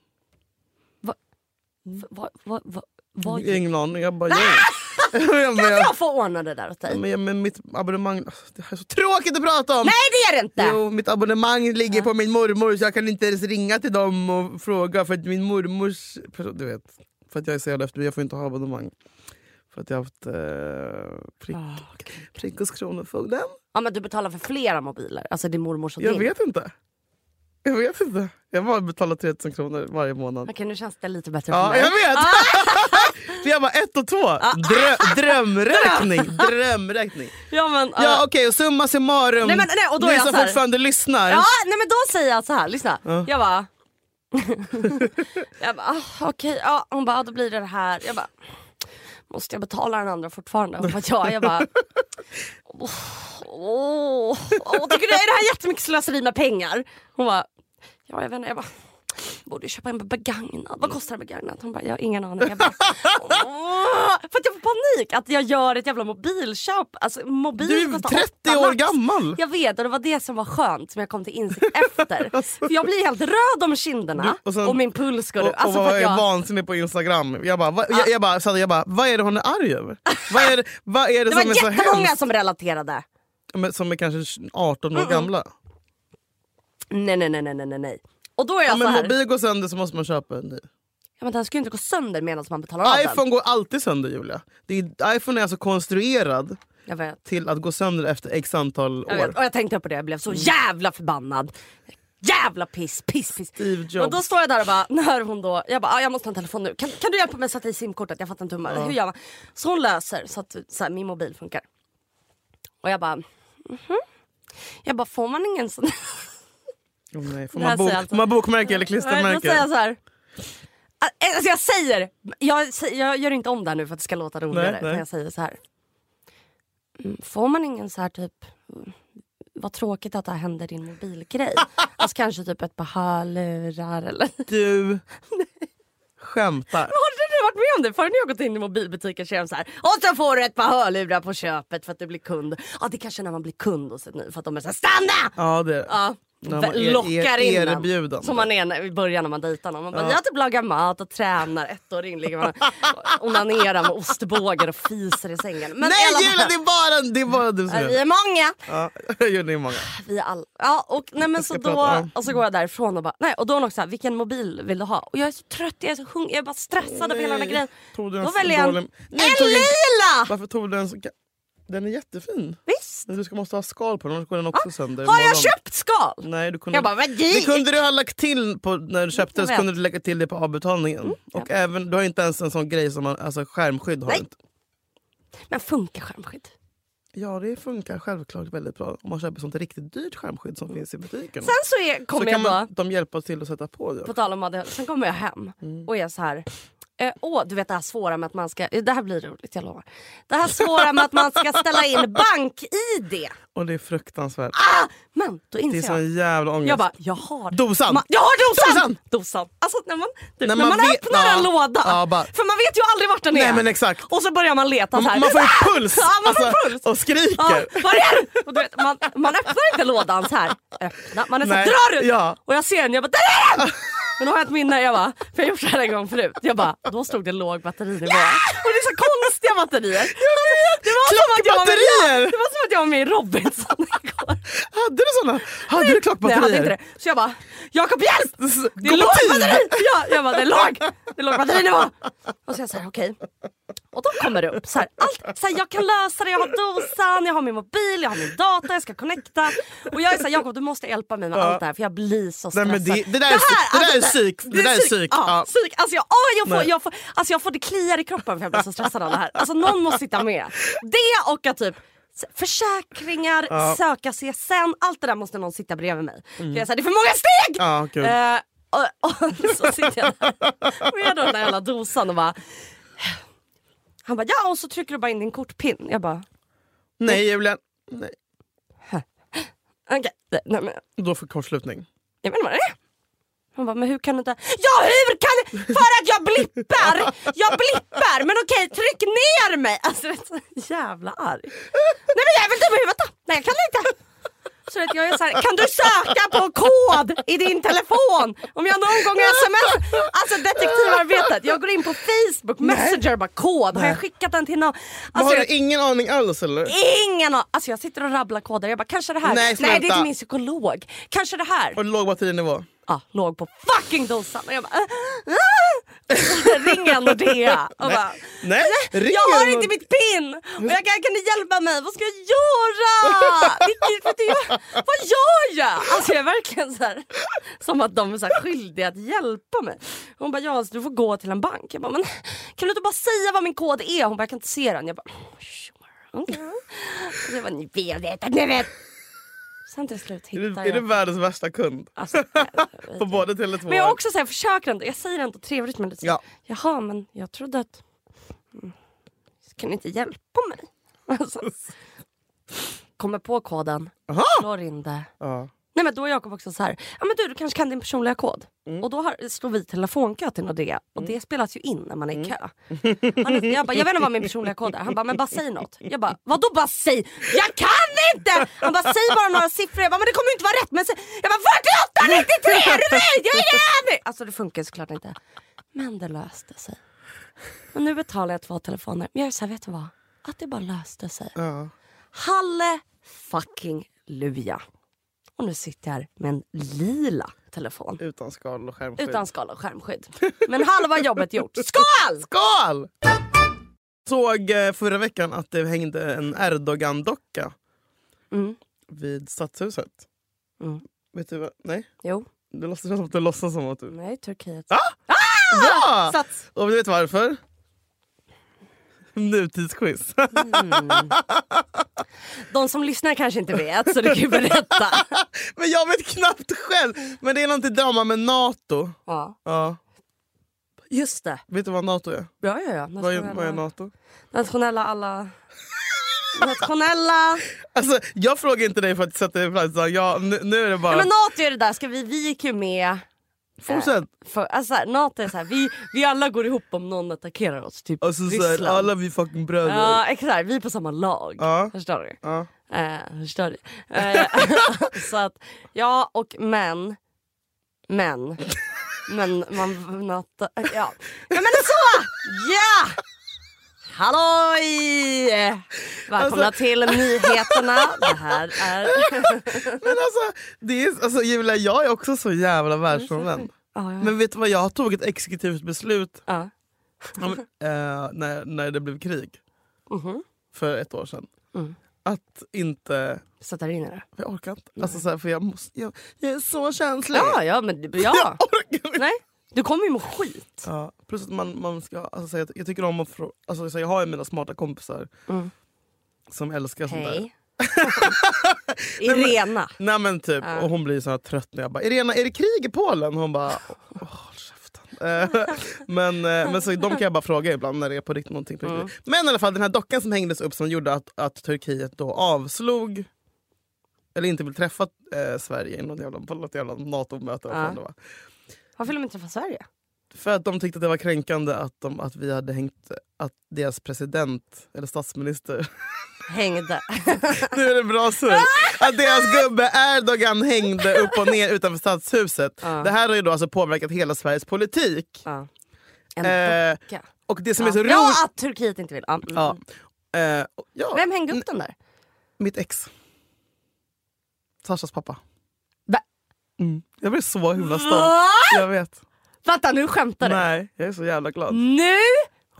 Vad, vad, vad, vad gick
Ingen aning. Jag bara... [laughs] Jag, jag, bara, jag,
jag få ordna det där åt dig?
men, jag, men mitt abonnemang... alltså, Det här är så tråkigt att prata om!
Nej det är det inte!
Jo, mitt abonnemang ligger på min mormor så jag kan inte ens ringa till dem och fråga för att min mormors... person- Du vet, för att jag är så jävla efter, jag får inte ha abonnemang. För att jag har haft eh, prick,
Ah,
prick hos Kronofogden.
Ja men du betalar för flera mobiler, alltså din mormors och
Jag
din.
vet inte. Jag vet inte. Jag bara betalar 3000 kronor varje månad.
Okej Ah. nu känns det lite bättre för
Ja,
mig.
jag vet! [laughs] Så jag bara ett och två.
Ah.
Drö,
[laughs]
drömräkning. drömräkning.
Ja men,
Ja okej, och summa summarum.
Ah. Nej, men- nej, och då är
ni
jag
som
så här-
fortfarande lyssnar.
Ja, nej men då säger jag så här, lyssna. Jag bara... [laughs] jag bara, ah, okej, ja. Hon bara, ah, då blir det det här. Jag bara, måste jag betala den andra fortfarande? Hon bara, ja. Jag bara, åh, åh, åh, tycker du är det här jättemycket slöseri med pengar? Hon bara, ja jag vet inte. Jag bara, borde ju köpa en begagnad. Vad kostar en begagnad? Hon bara, jag har ingen aning. Jag bara, åh, för att jag får panik att jag gör ett jävla mobilköp. Alltså mobil
Du är
kostar
30
åtta
år
lax.
gammal.
Jag vet och det var det som var skönt som jag kom till
[laughs]
insikt efter. För jag blir helt röd om kinderna och,
och sen-
min puls går
och,
upp. Alltså
och
för
var
att jag... Ah.
vansinnig på Instagram. Jag bara, va, jag, jag, bara, så jag bara, vad är det hon är arg över? Vad är, det- vad är det,
Det var
som är så
jättemånga Mm,
hemskt?
som relaterade.
Men Som är kanske 18 år gamla.
Nej nej nej nej nej nej, nej. Och då är jag
Om
så
en
här.
mobil går sönder så måste man köpa en ny.
Ja, men den ska ju inte gå sönder medan man betalar av den.
iPhone går alltid sönder Julia. Det är, iPhone är alltså konstruerad
Jag vet.
till att gå sönder efter x antal
Jag vet.
år. Mm.
Och jag tänkte på det, jag blev så jävla förbannad. Jävla piss, piss, piss.
Steve Jobs.
Och då står jag där och bara, [laughs] när hon då, jag bara, ah, jag måste ha en telefon nu. Kan, kan du hjälpa mig att sätta i simkortet? Jag fattar inte hur man, hur gör man? Så hon löser så att så här, min mobil funkar. Och jag bara, mhm. Jag bara, får man ingen sån? [laughs]
Åh nej, får
Det här
man, bok,
säger alltså-
får man bokmärke eller
Då säger
klistermärke?
jag så här. Ah, Alltså jag säger, jag, sä- jag gör inte om det här nu för att det ska låta roligare.
Nej,
utan
nej.
Jag säger så här. Mm, Får man ingen så här typ, mm, vad tråkigt att det här hände din
[laughs]
mobilgrej. alltså kanske typ ett par hörlurar eller.
Du skämtar.
Har du varit med om det? Förrän jag gått in i mobilbutiken så är de så här. Och så får du ett par hörlurar på köpet för att du blir kund. Ja det är kanske när man blir kund hos ett nu för att de är så här, stanna!
Ja det är det.
Ja.
När man är-
lockar
är
in den.
erbjudande.
Som man är när- i början när man dejtar någon. Man bara, jag typ lagar mat och tränar. Ett år in ligger man och onanerar med ostbågar och fiser i sängen. Men i alla
Nej Julia
fall- Alltså,
det är bara, det är bara du som
Ja, Vi
är
är många.
ja, [laughs] Julia, det är många.
Vi är all... ja, och, nej, men så
ska
då,
prata.
och så går jag därifrån och bara, nej, och då är hon också så här, vilken mobil vill du ha? Och jag är så trött, jag är så hungrig, jag är bara stressad av hela den här
Nej.
grejen.
Tog du
Då
en
väljer jag en,
dålig- Nej,
en
tog inte-
lila!
Varför tog du den så... ga- Den är jättefin.
Visst!
Men Du ska måste ha skal på den, annars går den också sönder.
Ah. Har jag
imorgon.
köpt skal?
Nej, du kunde...
Jag bara, vad
det
gick?
kunde du ha lagt till på, när du köpte
Jag
det, så
vet. Mm.
kunde du lägga till det på avbetalningen. och även, du har inte ens en sån grej som man, alltså skärmskydd. Har
Nej.
du inte.
Men funkar skärmskydd?
Ja, det funkar självklart väldigt bra om man köper sånt riktigt dyrt skärmskydd som finns i butiken.
Sen så är,
så
kommer jag
kan
då...
man, de hjälpa till att sätta på det.
På tal om ADHD. Sen kommer jag hem
Mm.
och är så här. eh, Åh, du vet det här svåra med att man ska... eh, Det här blir roligt, jag lovar. Det här svåra med att man ska ställa in bank-id.
Och det är fruktansvärt.
Men då
det är
Ah, inser jag.
sån jävla ångest.
Jag bara, jag har...
Dosan!
Ma- jag har dosan!
Dosan!
Alltså när man, du, när
När
man,
man vet-
öppnar
ja.
en låda.
Ja, bara-
För man vet ju aldrig vart den är.
Nej, men exakt.
Och så börjar man leta så här.
man, man får ju
[laughs]
puls!
Ja, man får
alltså,
puls.
Och
Ja,
skriker.
var är du? Och du vet, man, man öppnar inte lådan så här. Öppna. Man är så här,
Nej,
drar ut.
ja.
Och jag ser den, jag bara där är den! Men då har jag ett minne, jag bara, för jag har gjort det här en gång förut. Jag bara, då stod det låg batterinivå. Och det är så konstiga batterier. Det var, som att jag var med,
Klockbatterier!
det var som att jag var med i Robinson [laughs] igår.
Hade du såna? Hade du
Nej
klockbatterier?
jag hade inte det. Så jag bara, Jakob hjälp! Det är
[laughs] Gå på
låg
tid!
batteri! Ja, jag bara, det är låg, det är låg batterinivå. Och så är jag såhär, okej. Och de kommer upp. Så här, allt, så här, jag kan lösa det, jag har dosan, jag har min mobil, jag har min data, jag ska connecta. Och jag är såhär, Jakob du måste hjälpa mig med allt det här för jag blir så
Nej,
stressad. alltså,
men det- det där är psyk- det där är psyk. Det där är psyk.
Ja,
Ja.
psyk. Alltså, jag, åh, jag,
Nej.
får, jag, får, alltså, jag får det kliar i kroppen för jag blir så stressad av det här. Alltså någon måste sitta med. Det och att typ s- Försäkringar, söka CSN, allt det där måste någon sitta bredvid mig. För jag säger det är för många steg!
Mm. Ja, kul.
Eh, och, och [laughs] så sitter jag där med den där jävla dosan och bara... Han bara ja och så trycker du bara in din kortpin. Jag bara
Nej Julian. Nej.
okej. Nej, nej, men
Då för kortslutning.
jag vet inte vad det är. Han bara men hur kan du inte... Ja hur kan du? För att jag blippar! Jag blippar! Men okej tryck ner mig! Alltså jag är så jävla arg. Nej men jag är väl dum i huvudet då? Nej jag kan inte. Så att jag är så här, kan du söka på kod i din telefon? Om jag någon gång sms... Alltså detektivarbetet. Jag går in på Facebook Messenger bara kod. Har jag skickat den till någon?
Men
Alltså,
har
jag-
du ingen aning alls eller?
Ingen aning. Alltså jag sitter och rabblar koder. Jag bara, kanske det här.
Nej,
Nej det är
sluta.
till min psykolog. Kanske det här.
Och låg batterinivå?
Ah, låg på fucking dosan. Och jag bara, äh, äh. [laughs] Ring en Nordea. Och bara, "Äh,
Nej, ring
jag har
en
inte
Nordea."
mitt pin. Och jag kan, kan du hjälpa mig? Vad ska jag
[laughs]
göra? Vilket, för det, vad gör jag? Alltså jag är verkligen så här, som att de är så här skyldiga att hjälpa mig. Hon bara, ja alltså, du får gå till en bank. Jag bara, men kan du inte bara säga vad min kod är? Hon bara, jag kan inte se den. Jag bara,
[laughs]
sure. Okay. Och jag bara, ni vet, ni vet. Sen till slut
Är
hittar
det, är det
jag...
världens värsta kund?
Alltså,
På både Tele2
men jag har också så här, försöker ändå, jag säger ändå trevligt men lite så,
Ja.
jaha men jag trodde att, mm, kan ni inte hjälpa mig? [laughs] Alltså, kommer på koden,
Aha!
slår in det.
Ja.
Nej men då är Jakob också så här, ja men du, du kanske kan din personliga kod. Och då har, slår vi telefonkö till Nordea och det spelas ju in när man är i kö. Han är, jag bara, jag vet inte vad min personliga kod är. Han bara, men bara säg något. Jag bara, vadå bara säg? Jag kan inte! Han bara, säg bara några siffror. Jag bara, men det kommer ju inte vara rätt. Men säg- jag bara, 48, 93, är du nöjd? Jag är ingen aning! Alltså det funkar ju såklart inte. Men det löste sig. Och nu betalar jag två telefoner. Men jag är så här, vet du vad? Att det bara löste sig.
Ja.
Halle fucking luja. Och nu sitter jag här med en lila telefon.
Utan skal och skärmskydd.
Utan skal och skärmskydd. Men halva jobbet gjort. Skål!
skal! Såg eh, förra veckan att det hängde en Erdogan-docka
Mm.
vid Stadshuset.
Mm.
Vet du vad? Nej?
Jo,
Det låtsas som att du låtsas som att du...
nej Turkiet.
Ah!
Ah!
Ja!
Sats.
Och du vet varför? Nutidsquiz. [laughs]
De som lyssnar kanske inte vet så du kan ju berätta.
Men jag vet knappt själv! Men det är något drama med Nato.
Ja,
Ja.
just det.
Vet du vad Nato är?
Ja, ja, ja. Nationella,
Vad är, vad är Nato?
nationella
[laughs]
alla... Nationella...
Alltså, jag frågar inte dig för att sätta dig på plats. utan Jag, nu, nu är det bara...
Nej, men Nato är det där, ska vi, vi gick ju med...
Fortsätt!
För, alltså, så här, Nato är så här, vi, vi alla går ihop om någon attackerar oss. Typ
Alltså, så här,
Ryssland.
alla vi fucking bröder.
Ja exakt, vi är på samma lag.
Ja.
Förstår du?
Ja.
Eh, förstår du?
[laughs]
Eh, [laughs] så att, ja och men. Men. Men man... Natta, ja. ja men alltså- så! Ja! Halloj! Välkomna
Alltså-
till nyheterna. Det här är...
[laughs] Men alltså, det är, alltså Julia, jag är också så jävla världsfrånvänd.
Ja, ja.
Men vet du vad, jag tog ett exekutivt beslut
Ja. [laughs]
om, eh, när, när det blev krig
Mhm. Mm.
för ett år sedan. Att inte...
Sätta dig in i det.
För jag orkar inte. Alltså, så här, för jag, måste, jag, jag är så känslig.
Ja, ja men
Jag
ja.
[laughs] orkar inte.
Nej, du kommer ju må skit.
Ja, plus att man, man ska, alltså, så jag, jag tycker om att frå, alltså, så jag har ju mina smarta kompisar som älskar sånt där.
Hej. Irena.
[laughs] Nej men typ, och hon blir så här trött när jag bara “Irena, är det krig i Polen?” Hon bara “Åh, håll käften”. Eh, men, eh, men så de kan jag bara fråga ibland när det är på riktigt någonting. På riktigt. Men i alla fall den här dockan som hängdes upp som gjorde att, att Turkiet då avslog eller inte vill träffa eh, Sverige i något jävla, på något jävla NATO-möte. vad fan det var.
Varför vill de inte träffa Sverige?
För att de tyckte att det var kränkande att, de, att vi hade hängt att deras president eller statsminister [laughs]
Hängde.
Nu är det bra sur. Att deras gubbe Erdogan hängde upp och ner utanför stadshuset. Det här har ju då alltså påverkat hela Sveriges politik.
Ja. En
Eh,
docka.
och det som är
Ja.
så roligt...
ja, att Turkiet inte vill. Ja. Mm.
Ja. Eh, och- ja,
Vem hängde upp den där?
Mitt ex. Sashas pappa.
Va?
Mm. Jag blir så himla stolt. Jag vet.
Vänta, nu skämtar du?
Nej, jag är så jävla glad.
Nu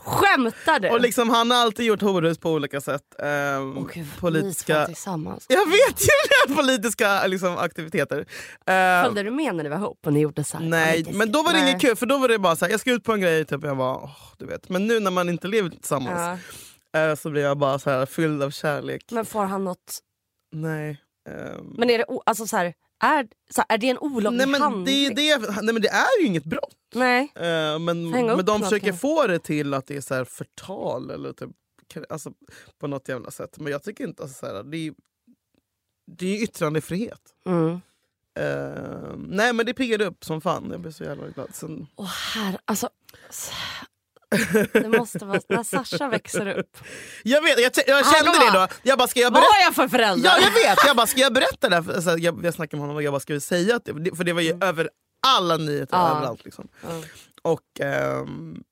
Skämtar du?
Och liksom, han har alltid gjort horhus på olika sätt. Ehm,
Åh, gud, vi två
politiska...
tillsammans.
Jag vet ju det! Politiska liksom, aktiviteter. Ehm,
Följde du med när du var ihop och ni gjorde så här?
Nej,
politiska-
men då var det
Nej.
inget kul. För då var det bara så här, jag ska ut på en grej, typ, jag bara, åh, du vet. Men nu när man inte lever
Ja.
tillsammans eh, så blir jag bara så här, fylld av kärlek.
Men får han något?
Nej. ehm,
Men är det, o- alltså, så här, är, så här, är det en olaglig
nej, men
handling?
det, är ju det, nej men det är ju inget brott.
Nej.
Eh, men,
Hänga upp
men de
något
försöker
kanske.
få det till att det är så här förtal eller typ, kr- alltså, på något jävla sätt. Men jag tycker inte... Alltså, så här, det, är, ju- det är ju yttrandefrihet.
Mm.
Eh, nej men det piggade upp som fan. Jag blev så jävla glad. Sen,
Och här, alltså. s- Det måste vara när Sasha växer upp.
jag vet, jag, jag kände
Han
det
bara-
då. Jag bara, ska jag
Vad
berätta?
har jag för föräldrar?
Ja jag vet, jag bara ska jag berätta det här? För- Så här, jag, jag snackade med honom och jag bara ska vi säga att det, för det var ju över alla nyheter
Mm. Ja.
överallt. Liksom.
Ja.
Och ehm,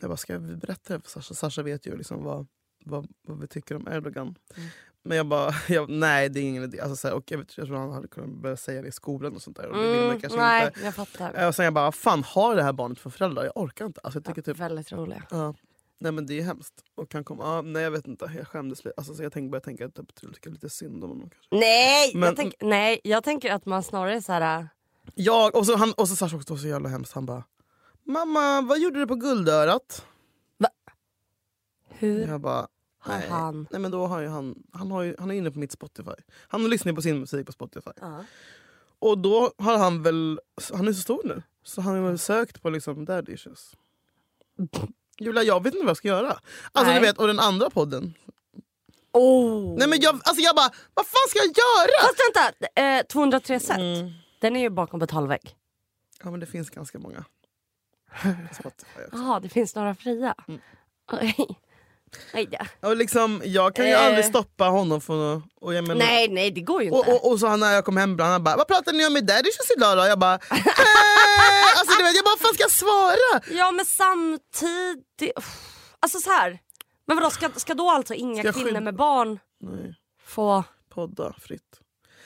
jag bara ska vi berätta det här för Sasha? Sasha vet ju liksom vad, vad, vad vi tycker om Erdogan.
Mm.
Men jag bara, [laughs] jag, nej det är ingen idé. Alltså, så här, och jag, vet, jag tror han hade kunnat börja säga det i skolan och sånt där. Och det vill man
Mm,
kanske
nej,
inte.
jag fattar.
Eh, Och sen jag bara, fan har det här barnet för föräldrar? Jag orkar inte. Alltså, jag tycker typ,
Väldigt roliga.
ja. Nej men det är hemskt. Och kan komma, ah, nej jag vet inte, jag skämdes lite. Alltså, så jag tänkte börja tänka att typ, tycker lite synd om honom. Kanske.
Nej, jag
Men-
tänk, nej, jag tänker att man snarare är så här...
Ja, och så, han, och så Sasha också så jävla hemskt. Han bara “Mamma, vad gjorde du på guldörat?”
Hur
Jag bara
Mm. har
Nej,
han...
nej men då har ju han, han, har ju, han är inne på mitt Spotify. Han lyssnar ju på sin musik på Spotify.
Ja.
Och då har han väl, han är så stor nu, så han har väl sökt på liksom daddy issues. Julia jag vet inte vad jag ska göra. Alltså
Nej.
du vet, och den andra podden.
Oh.
Nej men jag, alltså jag bara, vad fan ska jag göra?
Fast vänta, eh, 203 set. Den är ju bakom betalvägg.
Ja men det finns
[laughs]
ganska många. Spotify också.
Jaha, det finns några fria. Oj. Oj, ja.
Och liksom, jag kan ju
Eh.
aldrig stoppa honom från att... Och jag menar,
Nej, nej det går ju inte.
Och, och, och så han, när jag kom hem han bara “Vad pratade ni om i Daddishus idag då?”
[laughs]
Jag bara eh, alltså, du vet, Jag bara “Vad fan ska jag svara?”
Ja men samtidigt... Uff. Alltså så här. Men vadå, ska, ska då alltså inga
Ska jag
kvinnor
skydda-
med barn
Nej,
få...
podda fritt.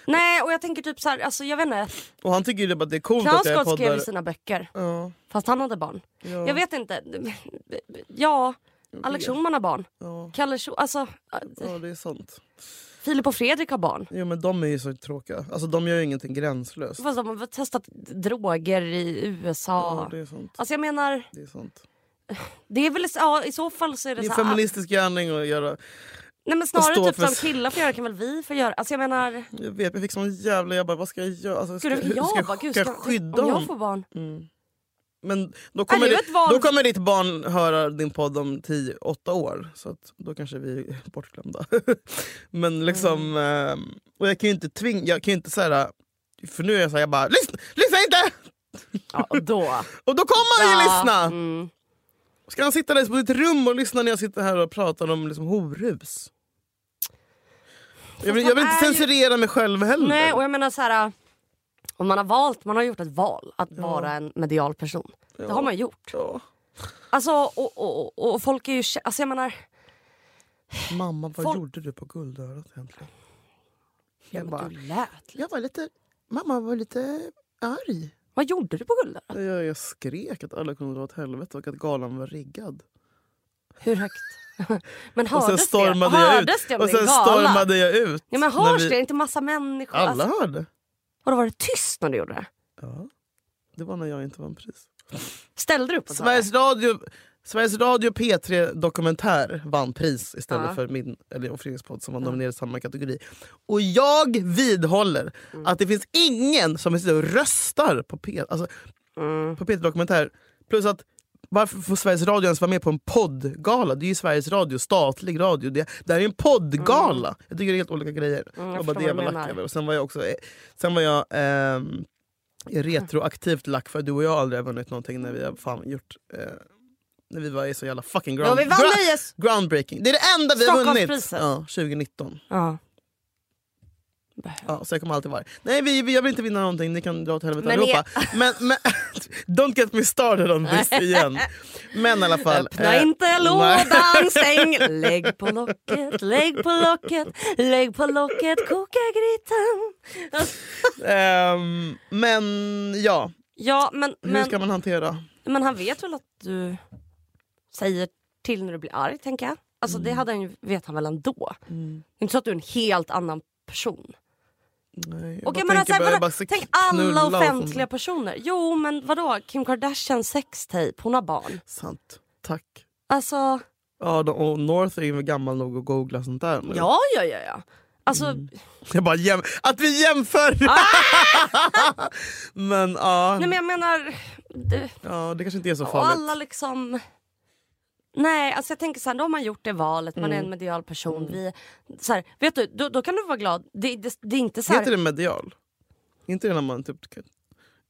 Nej och jag tänker typ så här, alltså jag vet inte.
Och han tycker ju bara att det är coolt att jag
Knausgård skrev
poddar.
ju sina böcker
Ja,
fast han hade barn.
ja,
Jag vet inte. Ja, Alex Schulman har barn.
ja,
Kalle Schulman, alltså
ja, det är sant.
Filip och Fredrik har barn.
Jo men de är ju så tråkiga. Alltså de gör ju ingenting gränslöst.
Fast de har väl testat droger i USA.
Ja, det är sant.
Alltså jag menar,
Det är sant.
det är väl ja, i så fall så är det,
Det är
så här,
feministisk gärning att göra.
Nej men
att stå
snarare typ
för-
som killar får göra kan väl vi få göra. Alltså jag menar,
Jag vet, jag fick sån jävla... Jag bara, vad ska jag göra? Alltså, ska,
gud,
hur
jag
ska jag,
bara, gud,
ska
ska,
jag skydda Mm.
om jag
honom?
får barn.
Men då
det
kommer,
är ju
ditt,
ett val.
då kommer ditt barn höra din podd om 10-8 år. Så att då kanske vi är bortglömda. [laughs]
Mm.
Men liksom... ehm, Och jag kan ju inte tvinga... Jag kan ju inte säga För nu är jag såhär, jag bara lyssna, lyssna inte!
Ja, och
[laughs]
då.
Och då kommer han ju lyssna!
Mm.
Ska han sitta där på ditt rum och lyssna när jag sitter här och pratar om liksom, horhus? Jag vill, jag vill
han
inte
är ju-
censurera mig själv heller.
Nej och jag menar så här. Om man har valt, man har gjort ett val att vara en medial person. Det har man gjort.
Ja.
Alltså och, och, och, och folk är ju, kä- alltså jag menar.
Mamma, vad
Folk-
gjorde du på guldörat egentligen?
Ja,
Jag bara-
men du lät.
Jag var lite... Mamma var lite arg.
Vad gjorde du på Guldörat?
Jag, jag skrek att alla kunde dra åt helvete och att galan var riggad.
Hur högt? [laughs] men
Och
hördes
sen stormade
det?
jag ut.
Hördes det om
och sen
din gala?
stormade jag ut.
Ja, men
när
hörs
vi-
det? Är det inte massa människor?
Alla
Alltså,
hörde.
och då var det tyst när du gjorde det?
Ja. Det var när jag inte vann pris.
Ställde du upp och sa det?
Sveriges Radio, Sveriges Radio P3 Dokumentär vann pris istället
Ja.
för min eller och Fredriks podd som var nominerad i samma kategori. Och jag vidhåller
Mm.
att det finns ingen som sitter och röstar på P3 alltså,
Mm.
på P3 Dokumentär. Plus att varför får Sveriges Radio ens vara med på en poddgala? Det är ju Sveriges Radio, statlig radio. Det, det här är ju en poddgala. Jag tycker det är helt olika grejer.
Mm, jag
och
förstår
bara det
vad du
jag var
menar.
lack över. Och sen var jag också eh, sen var jag, ehm,
Mm.
retroaktivt lack för att du och jag aldrig har vunnit någonting när vi har fan gjort eh, när vi var i så jävla fucking
Ja,
ground,
vi vann
gra-
nöjes...
groundbreaking. Det är det enda vi har vunnit
Stockholmspriset.
ja, 2019.
Ja.
Ja, så jag kommer alltid vara Nej vi, vi, jag vill inte vinna någonting, ni kan dra åt helvete
Men
allihopa. Men, men, [laughs] don't get me started on this igen. Men i alla fall.
[laughs] Öppna
eh,
inte
nej.
lådan,
[laughs]
stäng! Lägg på locket, lägg på locket, lägg på locket, koka grytan.
Ehm, men ja,
Ja, men,
hur
men,
ska man hantera?
men han vet väl att du säger till när du blir arg, tänker jag. Alltså
Mm.
det hade han ju, vet han väl ändå. Det är inte så att du är en helt annan person.
Nej, jag
Okej,
bara
men alltså,
tänker bara-
vadå?
bara så
tänk
knulla
alla
och
offentliga
sånt.
personer. Jo men vadå, Kim Kardashian sextape, hon har barn.
Sant. Tack.
Alltså,
Ja, de- och North är ju gammal nog att googla sånt där nu.
ja ja ja. ja. Alltså,
Mm. Jag bara jäm- att vi jämför! [laughs] men, ja,
Ah! nej men jag menar... Det,
ja, det kanske inte är så
och
farligt.
alla liksom... Nej, alltså jag tänker så här, då har man gjort det valet, man
Mm.
är en medial person. Vi, så här, vet du, då, då kan du vara glad. Det, det, det är inte så här...
Heter det medial? Inte det när man typ kan,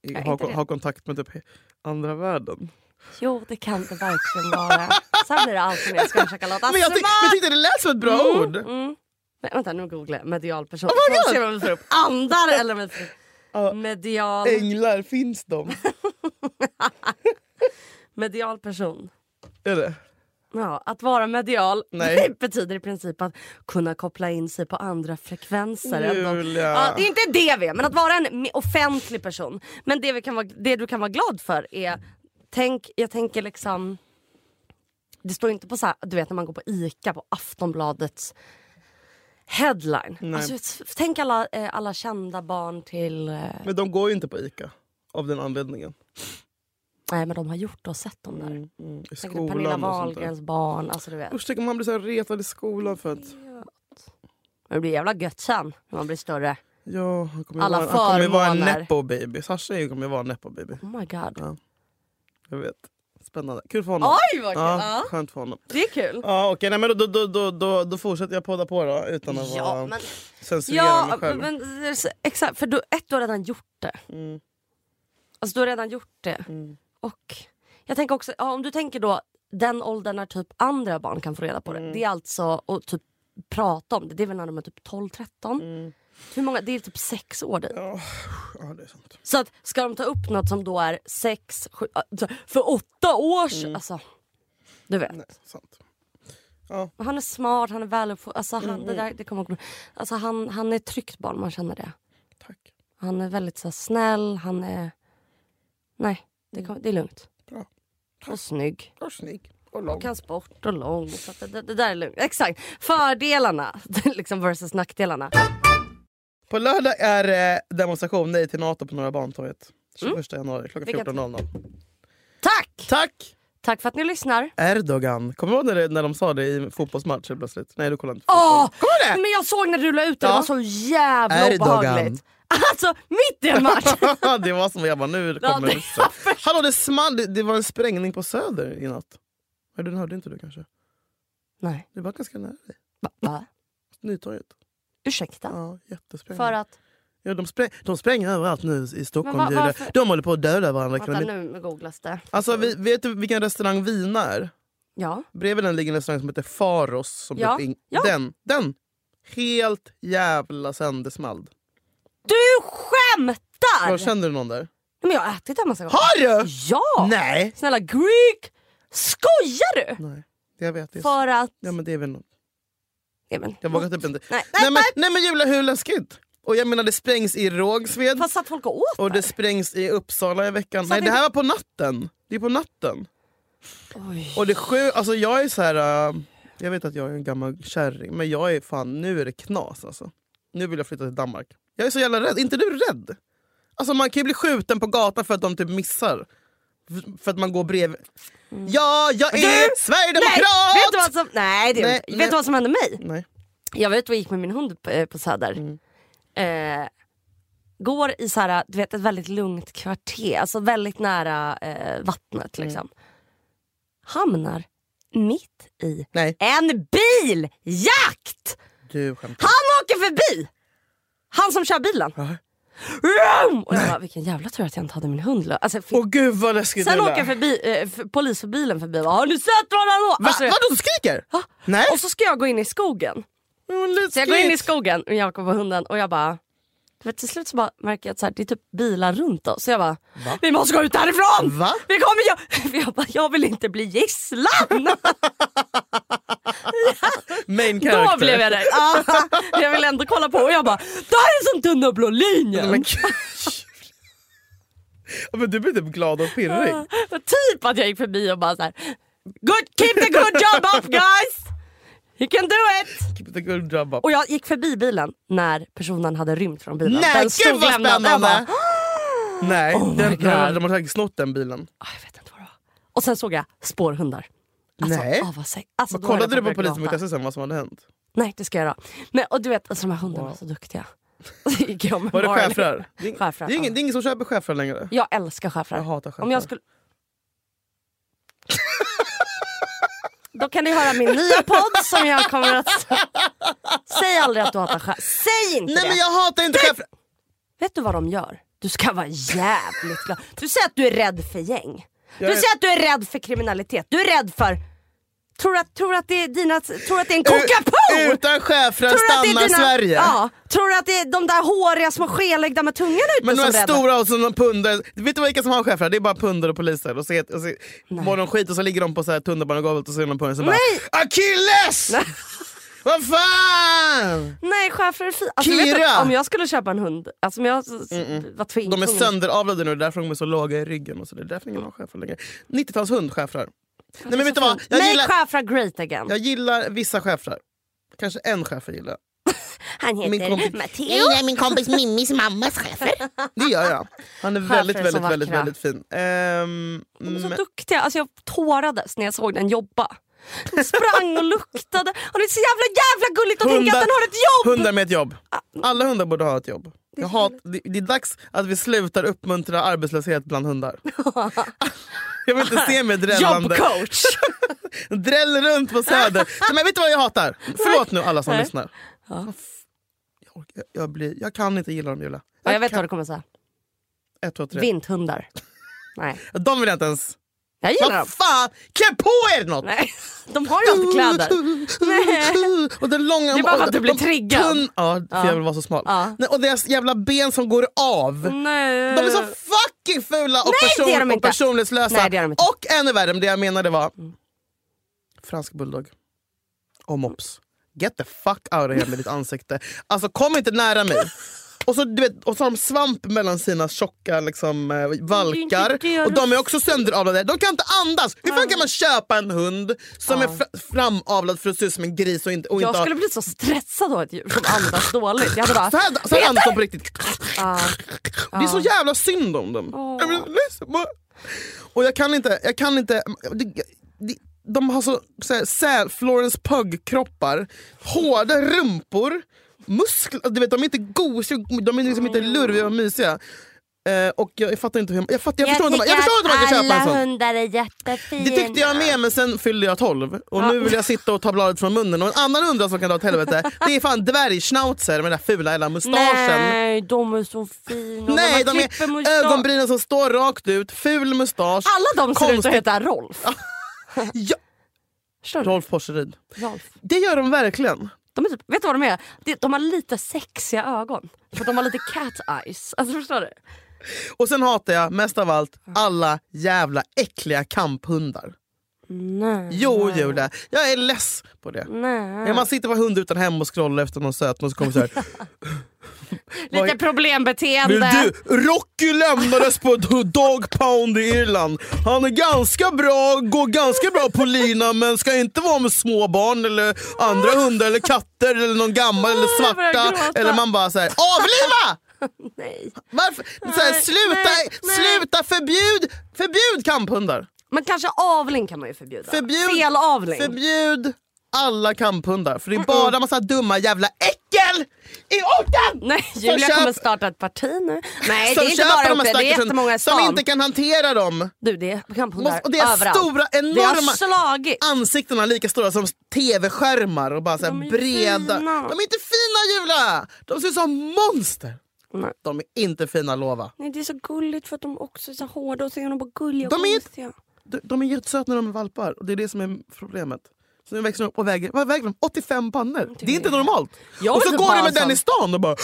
i-
Nej,
har,
inte
ko-
det.
har kontakt med typ he- andra världen?
Jo, det kan det verkligen vara. Så här blir det alltid när jag ska försöka låta
men, jag tyck-
smart.
men jag tyckte det lät som ett bra ord!
Alltså, Mm. Nej, vänta, nu googlar jag medial person. Oh se om vi får upp andar eller om vi får upp
Ja.
medial,
Änglar,
[laughs]
finns de?
medial person.
är det?
Ja, att vara medial
Nej.
[laughs] betyder i princip att kunna koppla in sig på andra frekvenser. än de-
Julia.
Ja, det är inte det vi är, men att vara en me- offentlig person. Men det, vi kan vara, det du kan vara glad för är, tänk, jag tänker liksom, det står inte på så här, du vet när man går på ICA på Aftonbladets headline. Alltså, f- tänk alla, eh, alla kända barn till, eh,
Men de går ju inte på Ica. Av den anledningen.
nej men de har gjort och sett dem där.
Mm, mm. I
Tänk dig Pernilla
skolan och sånt där.
Wahlgrens barn, alltså du vet.
Usch, tänk om man blir så här retad i skolan för att
Men det blir jävla gött sen när man blir större.
ja, han kommer ju
Alla
vara, han kommer ju vara en
förmåner.
nepo baby. Sasha är ju- kommer ju vara en nepo baby.
Oh my god.
Jag vet. Spännande. Kul för honom.
Oj vad kul!
Ja,
Ja.
skönt för honom.
Det är kul.
Ja, okej, nej, men då, då, då, då, då fortsätter jag podda på då utan att vara,
Ja, men
censurera
Ja,
mig själv.
men, exakt. För du, ett, du har redan gjort det.
Mm.
Alltså du har redan gjort det. Och jag tänker också, ja, om du tänker då den åldern när typ andra barn kan få reda på det.
Mm.
Det är alltså att typ prata om det. Det är väl när de är typ 12-13.
Mm.
Hur många? Det är typ sex år dit.
Ja, ja, det är sant.
Så att ska de ta upp något som då är sex, sju, alltså, för åtta år sedan. Alltså, du vet.
Mm. Nej, sant.
Och Han är smart, han är väluppfostrad. Alltså, han,
Mm.
det där, det kommer att- alltså, han, han är ett tryggt barn, man känner det.
Tack.
Han är väldigt så här, snäll, han är... Nej, det, kom, det är lugnt.
Bra.
Och snygg.
Och snygg och lång.
Och kan sport och lång. Så att det, det där är lugnt. Exakt. Fördelarna [laughs] liksom versus nackdelarna.
På lördag är det demonstration nej till Nato på Norra Bantorget.
Mm.
21 januari klockan
Vilka-
14.00.
Tack!
Tack!
Tack för att ni
Äh.
lyssnar.
Erdogan. Kommer du ihåg när, det, när de sa det i fotbollsmatcher plötsligt? Nej, du kollar inte.
Åh!
fotboll. Kommer du ihåg det?
Men jag såg när du la ut det, det
Ja.
var så jävla
Erdogan.
obehagligt. [laughs] Alltså, mitt i en
[laughs]
match!
det var som jag bara, nu
Ja,
kommer
det-
ryssen. Hallå det small, det, det var en sprängning på Söder i natt. Men den hörde inte du kanske?
Nej.
Det var ganska nära dig.
Va? Va?
Nytorget.
Ursäkta?
Ja, jättesprängning.
För att...
Ja, de, spräng, de spränger överallt nu i Stockholm.
Men va-
Julia.
varför-
de håller på att döda varandra.
Vänta,
Kan vi-
nu googlas det.
Alltså, vi, vet du vilken restaurang Vina är?
Ja.
Bredvid den ligger en restaurang som heter Faros. Som
Ja,
typ in-
ja.
Den! Den! Helt jävla söndersmald.
Du skämtar!
Var känner du någon där?
Men jag har ätit det en massa gånger.
Har du?
Ja!
Nej!
Snälla Greek! Skojar du?
Nej, jag vet. Det är...
För att...
Ja, men det är väl någon.
Ja, men,
Jag vågar typ inte.
Nej,
Nej, men, nej men Julia, hur läskigt? Och jag menar det sprängs i Rågsved.
Fast att folk har åt
Och det
där.
sprängs i Uppsala i veckan.
Så
Nej
det-
det här var på natten. Det är på natten.
Oj.
Och det är sju, alltså jag är så här. äh, jag vet att jag är en gammal kärring men jag är fan, nu är det knas alltså. Nu vill jag flytta till Danmark. Jag är så jävla rädd. Är inte du rädd? Alltså man kan ju bli skjuten på gatan för att de typ missar. F- För att man går bredvid. Ja, jag
Mm. du-
är
Nej,
sverigedemokrat!
vet du vad som, nej, det är
Nej,
inte.
nej.
Vet du vad som hände mig?
Nej.
Jag var ute och gick med min hund på, eh, på Söder.
Mm.
Eh, går i så här, du vet, ett väldigt lugnt kvarter, alltså väldigt nära eh, vattnet.
Mm.
Liksom. Hamnar mitt i
Nej,
en biljakt!
du skämtar.
Han åker förbi! Han som kör bilen.
Va?
Vroom! Och jag bara, vilken jävla tur att jag inte hade min hund. lö- Alltså, fy-
Åh gud vad läskigt
Sen
Julia.
åker förbi, eh, f- polis för bilen förbi och bara, har du sett vad han åker?
Va?
Alltså,
Vadå, du skriker? Nej.
och så ska jag gå in i skogen.
Men
Så jag går in i
läskigt.
skogen med Jakob och hunden och jag bara... Du vet, till slut så bara märker jag att så här, det är typ bilar runt oss. Så jag bara, vi måste gå ut härifrån!
Va?
Vi kommer jag, för [laughs] jag, bara, jag vill inte bli
[laughs]
gisslan!
Main
Då
character.
blev jag rädd. Ah, [laughs] jag ville ändå kolla på och jag bara, det här är som tunna blå linjen! [laughs]
Men gud. Ja, Men du blir typ glad och pirrig.
Ah. [laughs] Och typ att jag gick förbi och bara så här, Good, keep the good job up guys! You can do it!
Keep the good job up.
Och jag gick förbi bilen när personen hade rymt från bilen.
Nej,
den
gud,
stod
vad
lämnad. Jag [gasps]
spännande!
bara,
Nej, den,
Oh God.
de har- de har säkert snott den bilen.
"Ah, jag vet inte vad det var. Och sen såg jag spårhundar. Alltså,
Nej.
ah, vad säg- alltså,
Men
då hade
kollade du
jag
på
fått börja gråta.
polisen.se sen vad som hade hänt?
Nej det ska jag göra. Nej, och du vet alltså, de här hundarna
Wow.
är så duktiga. [laughs] Så gick jag med
Var det
Marley. [laughs]
schäfrar? Det, är-
Schäfrar,
det, är ingen-
ja.
det är ingen som köper schäfrar längre.
Jag älskar schäfrar.
Jag hatar schäfrar.
Om jag skulle... [laughs] Då kan ni höra min nya podd som jag kommer att... Säg aldrig att du hatar schäfrar. Säg inte
Nej
det!
men jag hatar inte schäfrar!
Vet du vad de gör? Du ska vara jävligt glad. Du säger att du är rädd för gäng. Du
Jag är-
säger att du är rädd för kriminalitet. Du är rädd för... Tror du att, tror du att det är dina... Tror du att det är en kokapo?
Utan schäfrar
Tror du att det är
stannar
dina-
Sverige.
Ja, tror du att det är de där håriga små skelögda med tungan ute
Men de
som
här
räddar?
stora och så någon pundare, vet du vilka som har chefer? Det är bara pundare och poliser. Och så, heter- och så mår de skit och så ligger de på så här tunnelbanegolvet och så är någon pundare som bara
[laughs]
Akilles! Vad fan!
Nej, schäfrar är fina. Alltså,
Kira!
vet du, om jag skulle köpa en hund, alltså om jag s- var tving,
De är
tvungen-
sönderavlade nu, det är därför de är så låga i ryggen. Och så det är därför ingen har chefer längre. 90-talshund schäfrar. Nej men vet du vad, jag
Alltså, Nej,
gillar,
schäfrar great again.
jag gillar vissa schäfrar. Kanske en chefer gillar jag.
Han heter
min kompis-
Matteo.
Jag är min kompis Mimmis mammas chefer.
Det gör jag. Han är
Schäfrar
väldigt,
är så
väldigt, väldigt,
vackra.
väldigt fin. Ehm,
De är så
men-
duktiga. Alltså, jag tårades när jag såg den jobba. De sprang och luktade. Och det är så jävla jävla gulligt att tänka att den har ett jobb!
Hundar med ett jobb.
Ah, mm.
Alla hundar borde ha ett jobb. Jag hat, det, det är dags att vi slutar uppmuntra arbetslöshet
[laughs]
bland hundar. jag vill inte se mig drällande. [laughs]
Jobbcoach!
Dräll runt
[laughs]
på Söder. Så, men vet du vad jag hatar? Förlåt nu alla som
Nej.
lyssnar. Jag, orkar- jag, blir, jag kan inte gilla dem Julia.
ja, jag vet
kan,
vad du kommer säga.
ett, två, tre.
Vinthundar. Nej,
De vill jag inte ens...
jag gillar dem.
Vad fan! Klä på er något!
Nej, [laughs] de har ju inte kläder. Nej.
[laughs] Och den långa,
Det är bara för att du blir
de-
triggad.
tunn- Ja, för jag vill vara så smal.
Ja. Mm.
Nej, och deras jävla ben som går av.
Nej.
De är så fucking fula och,
Nej, det är de
person- och
inte.
personlighetslösa.
Nej, det är de inte.
Och ännu värre, men det jag menade var fransk bulldog och mops. Get the fuck out of here med ditt ansikte. Alltså kom inte nära mig. Och så, du vet, och så har de svamp mellan sina tjocka liksom, eh, valkar.
inte det
Och de är också sönderavlade. De kan inte andas! Hur fan kan man köpa en hund som är fra- framavlad för att se ut som en gris och inte, och
Jag
inte ha-
skulle bli så stressad av ett djur som andas dåligt. Jag hade bara...
så här, så här andas de på riktigt. Det är så jävla synd om dem. Jag blir ledsen bara. Och jag kan inte... Jag kan inte det, det, de har så, så här, sä, Florence Pug-kroppar, hårda rumpor, muskler. Du vet, de är inte gosiga, de är liksom inte lurviga och mysiga. Eh, och jag fattar inte hur jag, fattar, jag, förstår inte, jag förstår inte hur man kan köpa en sån.
hundar är jättefina.
Det tyckte jag med men sen fyllde jag 12 och nu vill jag sitta och ta bladet från munnen. Och en annan hundra som kan dra åt helvete det är fan dvärgschnauzer med den där fula jävla mustaschen.
Nej, de är så fina.
Nej,
Man
de
klipper
är
mustasch.
ögonbrynen som står rakt ut, ful mustasch.
Alla de ser ut
konstigt-
att heta Rolf.
Ja,
Förstår du?
Rolf Porseryd.
Rolf.
Det gör de verkligen.
De är typ, vet du vad de är? De- De har lite sexiga ögon. För de har lite cat eyes. Alltså förstår du?
Och sen hatar jag mest av allt alla jävla äckliga kamphundar.
Nej.
Jo Julia, jag är less på det.
Nej.
När man sitter på hund utan hem och scrollar efter någon söt och så kommer så här.
[laughs] Lite
Vill
problembeteende.
du, Rocky lämnades på ett dog pound i Irland. Han är ganska bra, går ganska bra på lina men ska inte vara med små barn eller andra hundar eller katter eller någon gammal eller
jag börjar
svarta.
gråta.
Eller man bara säger avliva!
Nej.
Varför? Så här,
Nej,
sluta,
nej, nej.
sluta förbjud, förbjud kamphundar.
Men kanske avling kan man ju förbjuda.
Förbjud,
Felavling.
förbjud alla kamphundar för det är bara massa dumma jävla äckel i orten!
Nej,
som
Julia
köp-
kommer starta ett parti nu. Nej, det
som
är inte
köper
bara
de här
uppe, det är
stackars
jättemånga i
hund- som
stan.
inte kan hantera dem.
Du, det är kamphundar
Måste- och det är
överallt.
stora,
Det har
enorma-
slagit.
Ansiktena är lika stora som tv-skärmar och bara så här
De är
breda.
fina.
De är inte fina Julia! De ser ut som monster.
Nej.
De är inte fina lova.
Nej, det är så gulligt för att de också är så hårda och så är de bara gulliga och
De är-
gosiga.
De, de är jättesöta när de är valpar och det är det som är problemet. Så nu växer de upp och väger, vad väger de? 85 pannor. Det är inte normalt.
Jag typ
och
vet
så
inte
går du med
basen.
den i stan och bara...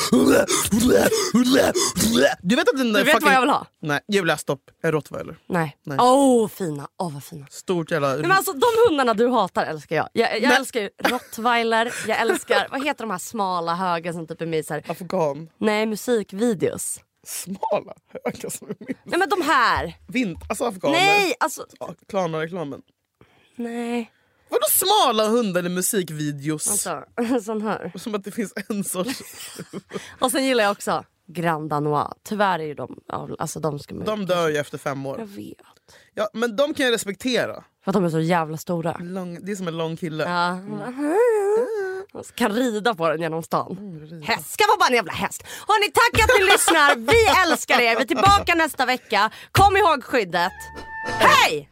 Du vet att den där
Du vet
fucking...
vad jag vill ha?
Nej, Julia stopp. En rottweiler.
Nej.
Nej.
Åh, oh, fina. Åh, vad fina.
Stort jävla...
Nej, men alltså, de hundarna du hatar älskar jag. Jag, jag älskar ju rottweiler, jag älskar vad heter de här smala höga som typ är med i så här,
Afghan.
nej, musikvideos.
Smala högar som är min.
Nej men de här.
Vint, alltså afghaner.
Nej, alltså
Ja, Klarna-reklamen.
Nej.
Vadå smala hundar i musikvideos?
Vänta, [laughs] sån här.
Som att det finns en sorts...
Och sen gillar jag också Grand Danois. Tyvärr är ju de... av- Alltså de ska man...
De dör ju efter fem
Jag
år.
vet.
Ja, men de kan jag respektera.
För att de är så jävla stora.
Lång, det är som en lång kille.
Ja. Man kan rida på den genom stan. Häst ska vara bara en jävla häst. Hörni, tack att ni lyssnar. Vi älskar er. Vi är tillbaka nästa vecka. Kom ihåg skyddet. Hej!